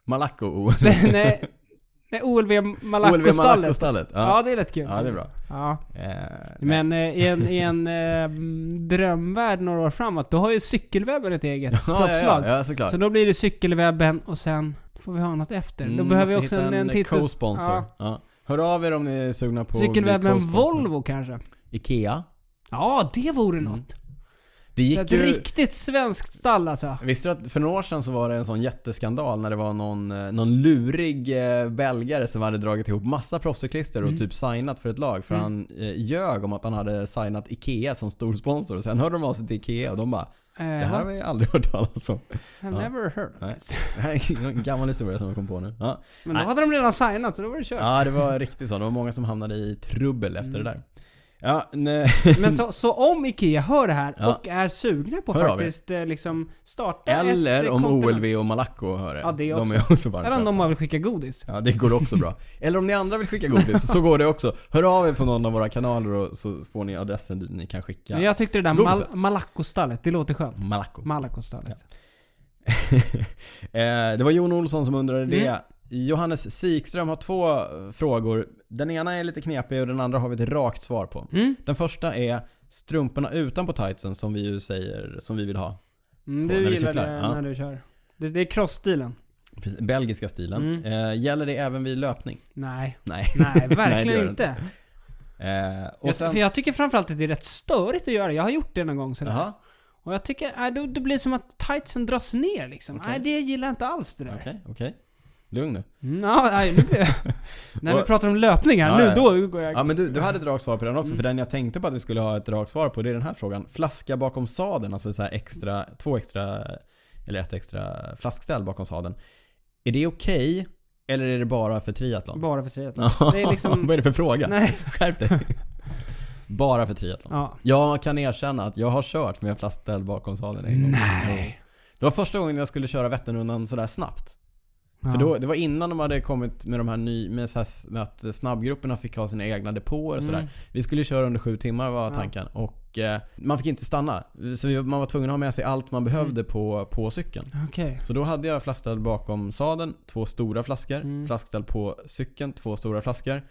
B: Malaco OLV?
A: nej, nej, OLV Malaco-stallet.
B: Malacco-stallet? Ja.
A: Ja, det är rätt kul.
B: ja, det är bra.
A: Ja.
B: Eh,
A: Men eh, i en, i en eh, mm, drömvärld några år framåt, då har ju cykelwebben ett eget
B: ja, ja,
A: proffslag.
B: ja, ja, såklart.
A: Så då blir det cykelwebben och sen får vi ha något efter.
B: Mm,
A: då behöver vi
B: måste
A: också
B: hitta
A: en, en titel...
B: co-sponsor. Ja.
A: Ja.
B: Hör av er om ni är sugna på att bli
A: Cykelwebben
B: co-sponsor.
A: Volvo kanske?
B: Ikea.
A: Ja, det vore något.
B: Det
A: Så ett
B: gick ju...
A: riktigt svenskt stall alltså.
B: Visste du att för några år sedan så var det en sån jätteskandal när det var någon, eh, någon lurig eh, belgare som hade dragit ihop massa proffscyklister
A: Mm.
B: och typ signat för ett lag för han eh, ljög om att han hade signat IKEA som storsponsor. Sen hörde de av sig till IKEA och de bara
A: Eh,
B: “Det här har vi aldrig hört talas om”.
A: I've never heard.
B: Nej. Det här är en gammal historia som jag kom på nu. Ja.
A: Men
B: Nej.
A: då hade de redan signat så då var det kört.
B: Ja, det var riktigt så. Det var många som hamnade i trubbel efter
A: Mm.
B: det där. Ja, nej.
A: Men så, så om IKEA hör det här
B: Ja.
A: och är sugna på
B: Hör av er.
A: faktiskt eh, liksom starta ett
B: Eller
A: eh,
B: om
A: kontinent.
B: OLV och Malaco hör det.
A: Ja, det
B: de
A: också.
B: är också varmt
A: Eller om de bara vill skicka godis.
B: Ja, det går också bra. Eller om ni andra vill skicka godis så går det också. Hör av er på någon av våra kanaler och så får ni adressen dit ni kan skicka
A: Men jag tyckte det där mal-
B: Godiset.
A: Malacco-stallet, det låter skönt.
B: Malaco.
A: Malacco-stallet.
B: Eh, det var Jon Olsson som undrade det.
A: Mm.
B: Johannes Sikström har två eh, frågor. Den ena är lite knepig och den andra har vi ett rakt svar på.
A: Mm.
B: Den första är strumporna utanpå tightsen som vi ju säger som vi vill ha.
A: Mm,
B: När
A: du
B: vi
A: gillar
B: cyklar,
A: det
B: ja.
A: när du kör. Det, det är cross-stilen.
B: Precis, Belgiska stilen.
A: Mm.
B: Eh, gäller det även vid löpning?
A: Nej.
B: Nej.
A: Nej,
B: Nej, det gör
A: verkligen
B: det
A: inte.
B: Eh, och
A: Jag,
B: sen...
A: för jag tycker framförallt att det är rätt störigt att göra Jag har gjort det någon gång sådär.
B: Jaha,
A: Och jag tycker, nej, då, det blir som att tightsen dras ner liksom.
B: Okej.
A: Nej, det gillar jag inte alls det där.
B: okej, okej. Lugn nu.
A: Mm, ja, nej, nu blir jag... När vi
B: Och-
A: pratar om löpningar,
B: Ja,
A: nu
B: ja.
A: då går jag...
B: Ja men du, du hade ett rakt svar på den också, för den jag tänkte på att vi skulle ha ett rakt svar på det är den här frågan. Flaska bakom sadeln, alltså så här extra, två extra, eller ett extra flaskställ bakom sadeln. Är det okej? eller är det bara för triathlon?
A: Bara för triathlon.
B: Ja,
A: det är liksom-
B: Vad är det för fråga?
A: Nej.
B: Skärp dig. bara för triathlon.
A: Ja.
B: Jag kan erkänna att jag har kört med en flaskställ bakom sadeln en gång.
A: Nej.
B: Det var första gången jag skulle köra Vätternrundan sådär snabbt. För
A: Ja.
B: då, det var innan de hade kommit med de här ny, med, så här, med att snabbgrupperna fick ha sina egna depåer och sådär.
A: Mm.
B: Vi skulle ju köra under sju timmar var tanken och eh, man fick inte stanna. Så vi, man var tvungen att ha med sig allt man behövde på, på cykeln.
A: Okej.
B: Så då hade jag flaskställ bakom sadeln, två stora flaskor. Flaskställ på cykeln, två stora flaskor.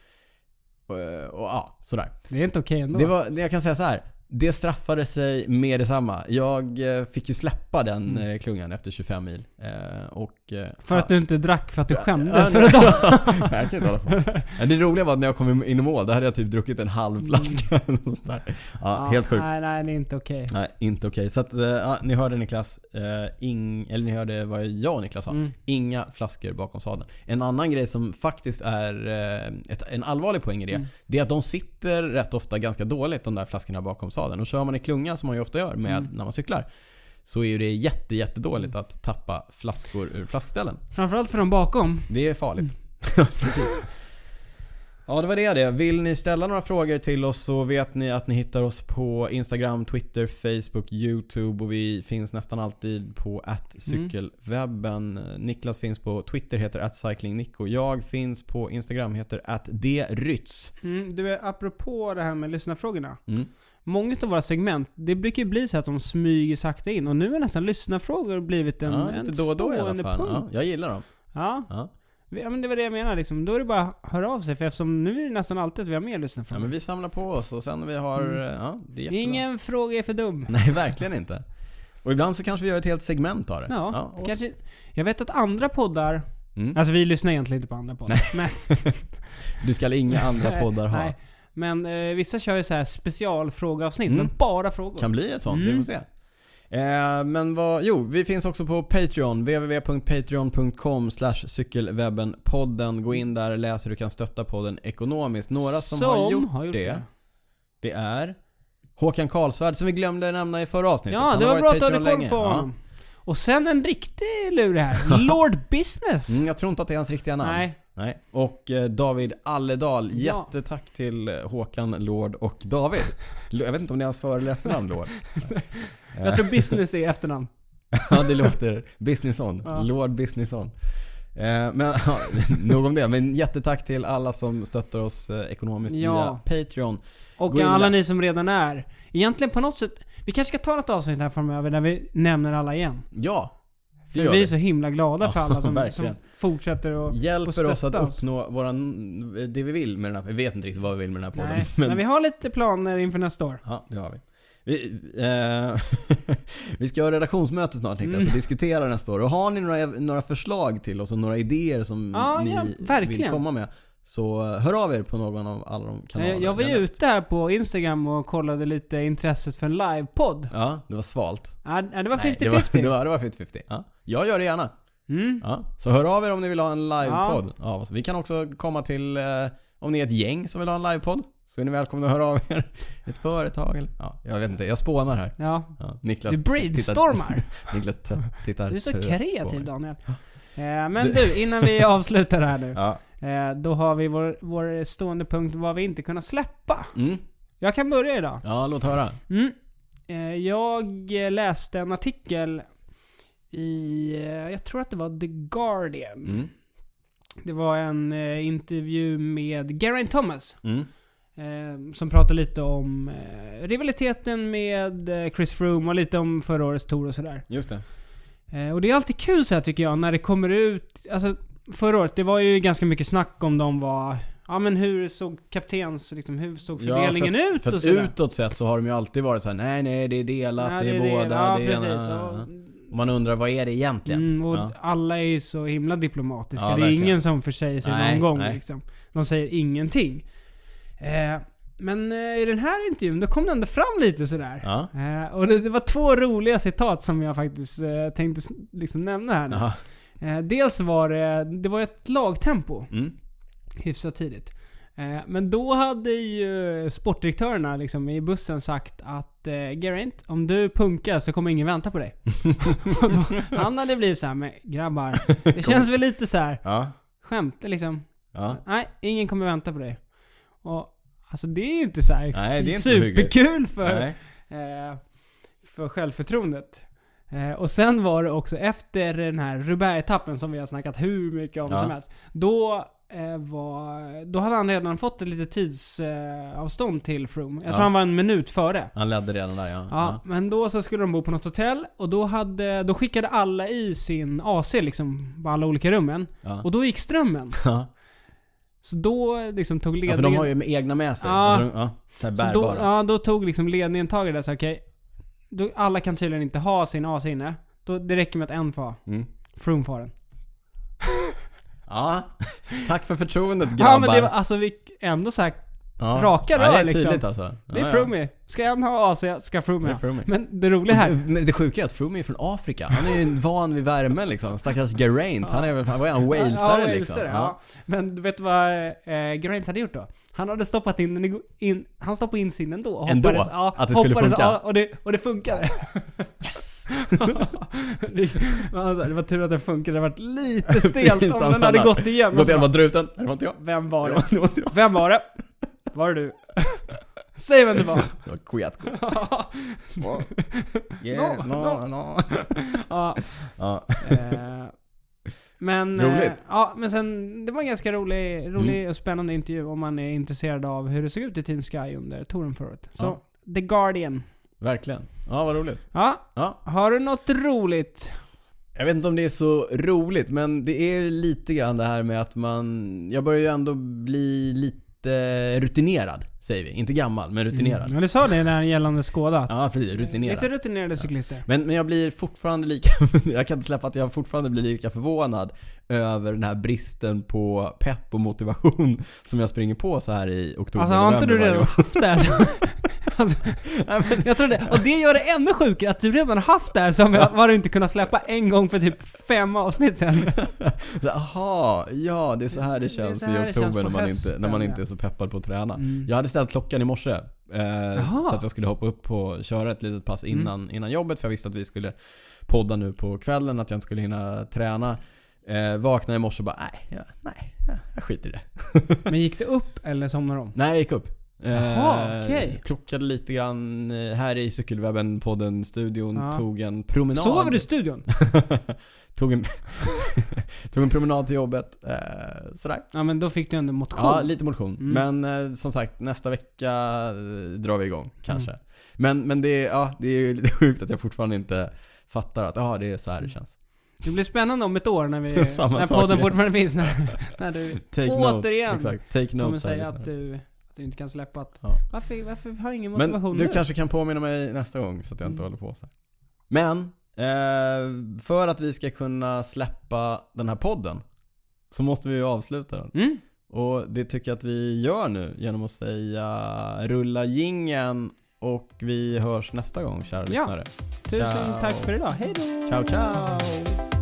B: Och, eh, och ja, sådär.
A: Det är inte okej ändå.
B: Det var, det jag kan säga så här. Det straffade sig med detsamma. Jag eh, fick ju släppa den eh, klungan efter 25 mil. Eh, Och, eh,
A: För att du inte drack för att du
B: Ja,
A: skämdes för
B: nej.
A: att du...
B: Nej, jag kan inte hålla på. Nej, Det roliga var att när jag kom in i mål, då hade jag typ druckit en halv flaska. eller något sånt där. Ja, helt sjukt.
A: Mm. Nej, nej, det är inte okej.
B: Nej, inte okej. Så att, eh, ja, ni hörde Niklas, eh, ing, eller ni hörde vad jag och Niklas sa.
A: Mm.
B: Inga flaskor bakom sadeln. En annan grej som faktiskt är eh, ett, en allvarlig poäng i
A: Mm.
B: det, det är att de sitter rätt ofta ganska dåligt de där flaskorna bakom sadeln. Och kör man i klunga, som man ju ofta gör med,
A: Mm.
B: när man cyklar, så är ju det jätte, jättedåligt att tappa flaskor ur flaskställen.
A: Framförallt för de bakom.
B: Det är farligt. Mm. Precis. Ja, det var det det. Vill ni ställa några frågor till oss så vet ni att ni hittar oss på Instagram, Twitter, Facebook, YouTube och vi finns nästan alltid på cykelwebben. Niklas finns på Twitter, heter cyclingnico. Jag finns på Instagram, heter drytz.
A: Mm, du, är, apropå det här med lyssnarfrågorna.
B: Mm.
A: Många av våra segment, det brukar ju bli så att de smyger sakta in och nu har nästan lyssnarfrågor blivit en,
B: Ja,
A: en
B: lite då och då i alla
A: stående
B: fall. Ja,
A: punkt.
B: jag gillar dem.
A: Ja.
B: Ja.
A: vi- ja, men det var det jag menade liksom. Då är det bara att höra av sig för eftersom nu är det nästan alltid att vi har med
B: Ja,
A: lyssnarfrågor.
B: men vi samlar på oss och sen när vi har... Ja, det är jättebra.
A: Mm. Ingen fråga är för dum.
B: Nej, verkligen inte. Och ibland så kanske vi gör ett helt segment av det.
A: Ja,
B: och-
A: kanske, jag vet att andra poddar...
B: Mm.
A: Alltså vi lyssnar egentligen inte på andra poddar. Men,
B: Du ska inga andra poddar ha.
A: Nej, Men eh, vissa kör ju så här specialfrågeavsnitt,
B: Mm.
A: men bara frågor.
B: Kan bli ett sånt, vi
A: Mm.
B: får se. Eh, men vad, jo, vi finns också på Patreon. www.patreon.com cykelwebbenpodden. Gå in där, läs hur du kan stötta podden ekonomiskt. Några som, har gjort, det, det, är Håkan Karlsvärd som vi glömde nämna i förra avsnittet.
A: Ja,
B: Han
A: det
B: har
A: var bra
B: varit
A: att du hade
B: Patreon
A: koll
B: länge.
A: på
B: Ja.
A: honom. Och sen en riktig lur här. Lord Business.
B: Mm, jag tror inte att det är hans riktiga namn.
A: Nej.
B: Nej. Och eh, David Alledal.
A: Ja.
B: Jättetack till eh, Håkan, Lord och David. Lo- Jag vet inte om det är hans för eller efternamn Lord. Eh.
A: Jag tror Business är efternamn.
B: Ja, det låter Businesson.
A: Ja.
B: Lord Businesson. Eh, Men ja, nog om det. Men jättetack till alla som stöttar oss eh, ekonomiskt
A: Ja.
B: via Patreon. Gå
A: Och
B: in
A: alla
B: där.
A: ni som redan är. Egentligen på något sätt... Vi kanske ska ta ett avsnitt här framöver där vi nämner alla igen.
B: Ja, det
A: För
B: gör
A: vi är
B: vi.
A: så himla glada för
B: Ja,
A: alla som, som
B: verkligen.
A: fortsätter och... och
B: Hjälper
A: stötta
B: oss att
A: oss.
B: uppnå våran, eh, det vi vill med den här Vi vet inte riktigt vad vi vill med den här podden.
A: Nej, men... vi har lite planer inför nästa år.
B: Ja, det har vi. Vi, eh, vi ska ha redaktionsmöte snart Niklas
A: Mm.
B: och diskutera nästa år. Och har ni några, några förslag till oss och några idéer som
A: Ja,
B: ni
A: ja, verkligen.
B: vill komma med. Så eh, hör av er på någon av alla de kanalerna.
A: Eh, Jag var ju
B: Den-
A: ute här på Instagram och kollade lite intresset för en livepodd.
B: Ja, det var svalt.
A: Ja, det var
B: Nej, det
A: 50-50.
B: var 50-50. Det var, det var 50-50. Ja, jag gör det gärna.
A: Mm.
B: Ja, så hör av er om ni vill ha en livepodd. Ja. så vi kan också komma till, eh, om ni är ett gäng som vill ha en livepodd, så är ni välkomna att höra av er. Ett företag eller? Ja, jag vet inte, jag spånar här.
A: Ja.
B: Ja, Niklas
A: Du brainstormar.
B: Tittar, Niklas t- tittar
A: Du är så
B: trött på
A: kreativ
B: mig.
A: Daniel. Eh, Men du, innan vi avslutar här nu.
B: Ja.
A: Eh, Då har vi vår, vår stående punkt vad vi inte kunnat släppa.
B: Mm.
A: Jag kan börja idag.
B: ja, låt höra.
A: Mm. Eh, Jag eh, läste en artikel i, eh, jag tror att det var The Guardian.
B: Mm.
A: Det var en eh, intervju med Geraint Thomas.
B: Mm.
A: Eh, som pratar lite om eh, rivaliteten med eh, Chris Froome och lite om förra årets tour och sådär.
B: Just det.
A: Eh, och det är alltid kul så här tycker jag när det kommer ut, alltså förra året, det var ju ganska mycket snack om de var, ja men hur såg kaptens, liksom hur såg fördelningen
B: för att,
A: ut
B: för
A: och
B: att
A: sådär.
B: utåt sett så har de ju alltid varit så här: nej nej det är delat,
A: Ja,
B: det är,
A: det.
B: båda,
A: ja,
B: det är
A: precis.
B: ena.
A: Och,
B: Och man undrar vad är det egentligen?
A: mm, och
B: Ja.
A: alla är ju så himla diplomatiska.
B: Ja,
A: det är
B: verkligen.
A: ingen som försäger sig
B: Nej,
A: någon gång
B: nej.
A: liksom. De säger ingenting. Eh, men eh, i den här intervjun, då kom det ändå fram lite sådär.
B: Ja.
A: Eh, och det, det var två roliga citat som jag faktiskt eh, tänkte s- liksom nämna här nu.
B: Jaha.
A: Eh, dels var det, det var ett lagtempo
B: Mm.
A: hyfsat tidigt. Eh, men då hade ju sportdirektörerna liksom i bussen sagt att eh, Geraint, om du punkar så kommer ingen vänta på dig. och då, han hade blivit så här med grabbar, det känns väl lite så här
B: Ja.
A: skämt liksom.
B: Ja.
A: Nej, ingen kommer vänta på dig. Och alltså det är ju inte så här
B: Nej, det är inte
A: superkul för
B: Nej.
A: eh, för självförtroendet. Eh, och sen var det också efter den här Roubaix-etappen som vi har snackat hur mycket om
B: Ja.
A: som helst. Då, eh, var, då hade han redan fått ett litet tidsavstånd eh, avstånd till Froome. Jag tror
B: Ja.
A: han var en minut före.
B: Han ledde redan där ja.
A: Ja, men då så skulle de bo på något hotell och då, hade, då skickade alla i sin AC liksom på alla olika rummen.
B: Ja.
A: Och då gick strömmen.
B: Ja.
A: Så då liksom tog ledningen...
B: ja, för de har ju med egna med sig.
A: Ja.
B: Alltså, de- ja, så här
A: Så då,
B: bärbara.
A: ja, då tog liksom ledningen tag i det så okej. då- alla kan tydligen inte ha sin AC inne. Då, det räcker med att en får ha.
B: Mm.
A: Froome får den.
B: Ja. Tack för förtroendet grabbar.
A: Ja men det var alltså vi ändå sagt
B: Ja.
A: raka
B: ja, Det är
A: rör, liksom.
B: tydligt alltså.
A: det är
B: ja,
A: Froome. Ska en ha AC ska Froome
B: Det är
A: ha.
B: Froome.
A: Men det roliga här.
B: Men det sjuka är att Froome är från Afrika. Han är ju van vid värme liksom. Stackars Geraint. Han är väl, vad är han, walesare
A: ja,
B: liksom?
A: walesare, ja. Men du vet vad eh, Grant hade gjort då? Han hade stoppat in den i go- in, Han stoppade in sin ändå. Och
B: Ändå?
A: Hoppades, ja,
B: Att det skulle
A: hoppades,
B: funka?
A: Ja, och, det, och det funkade. Yes! det, men han sa, det var tur att det funkade. Det hade varit lite stelt om den hade gått igen.
B: Gått igen bara druten. Det var inte jag.
A: Vem var det?
B: Det var- Det var inte jag.
A: Vem var det? Var det du? Säg vem det var.
B: Det var Kwiatko. Ja. Yeah,
A: No,
B: no, no.
A: ja,
B: Ja.
A: eh, men,
B: Roligt.
A: eh, ja, men sen, det var en ganska rolig, rolig och spännande intervju om man är intresserad av hur det såg ut i Team Sky under touren förra året. Så, The Guardian.
B: Verkligen. Ja, vad roligt.
A: Ja,
B: Ja.
A: har du något roligt?
B: Jag vet inte om det är så roligt men det är ju lite grann det här med att man... Jag börjar ju ändå bli lite rutinerad. Säger vi. Inte gammal, men rutinerad.
A: Mm, Ja, du sa det där gällande Skåda.
B: Ja, precis. Rutinerad.
A: Lite rutinerade cyklister.
B: Men, men jag blir fortfarande lika, jag kan inte släppa att jag fortfarande blir lika förvånad över den här bristen på pepp och motivation som jag springer på så här i oktober
A: Alltså har inte du
B: november
A: redan
B: varje år.
A: haft det? här som- Alltså,
B: Nej, men-
A: jag tror det. Och det gör det ännu sjukare att du redan haft det här som var du inte kunnat släppa en gång för typ fem avsnitt sen.
B: så, Aha, ja det är så här det
A: Det är
B: känns
A: så här det
B: i
A: känns på
B: oktober när, man inte,
A: hösten,
B: när man
A: ja. Mm.
B: inte är så peppad på att träna. Jag hade ställt klockan i morse eh,
A: Jaha. Mm.
B: så att jag skulle hoppa upp och köra ett litet pass innan, innan jobbet för jag visste att vi skulle podda nu på kvällen, att jag inte skulle hinna träna. Eh, vaknade i morse och bara nej, jag, nej, jag- jag skiter i det.
A: Men gick det upp eller somnade de?
B: Nej, jag gick upp. Eh,
A: Jaha, okej.
B: Klockade lite grann eh, här i cykelwebben, podden, studion,
A: Ja.
B: tog en promenad.
A: Sover du i studion?
B: tog, en, tog en promenad till jobbet. Eh, sådär.
A: Ja men då fick du ändå motion.
B: Ja, lite motion.
A: Mm.
B: Men eh, som sagt, nästa vecka eh, drar vi igång kanske. Men, men det, är- ja, det är ju lite sjukt att jag fortfarande inte fattar att ja, det är så
A: Mm.
B: här det känns.
A: Det blir spännande om ett år när, vi,
B: Samma
A: när
B: sak
A: podden
B: igen.
A: fortfarande finns. När, när du
B: Take
A: Återigen.
B: note. Exakt. Take
A: kommer
B: note. så här,
A: säga att
B: lyssnare.
A: du, att du inte kan släppa att...
B: Ja.
A: Varför, varför har jag ingen motivation
B: Men du
A: nu?
B: kanske kan påminna mig nästa gång så att jag inte
A: Mm.
B: håller på så här. Men, eh, för att vi ska kunna släppa den här podden så måste vi ju avsluta den.
A: Mm?
B: Och det tycker jag att vi gör nu genom att säga rulla jingeln och vi hörs nästa gång kära
A: Ja.
B: lyssnare.
A: Tusen
B: Ciao.
A: tack för idag. Hej då!
B: Ciao ciao!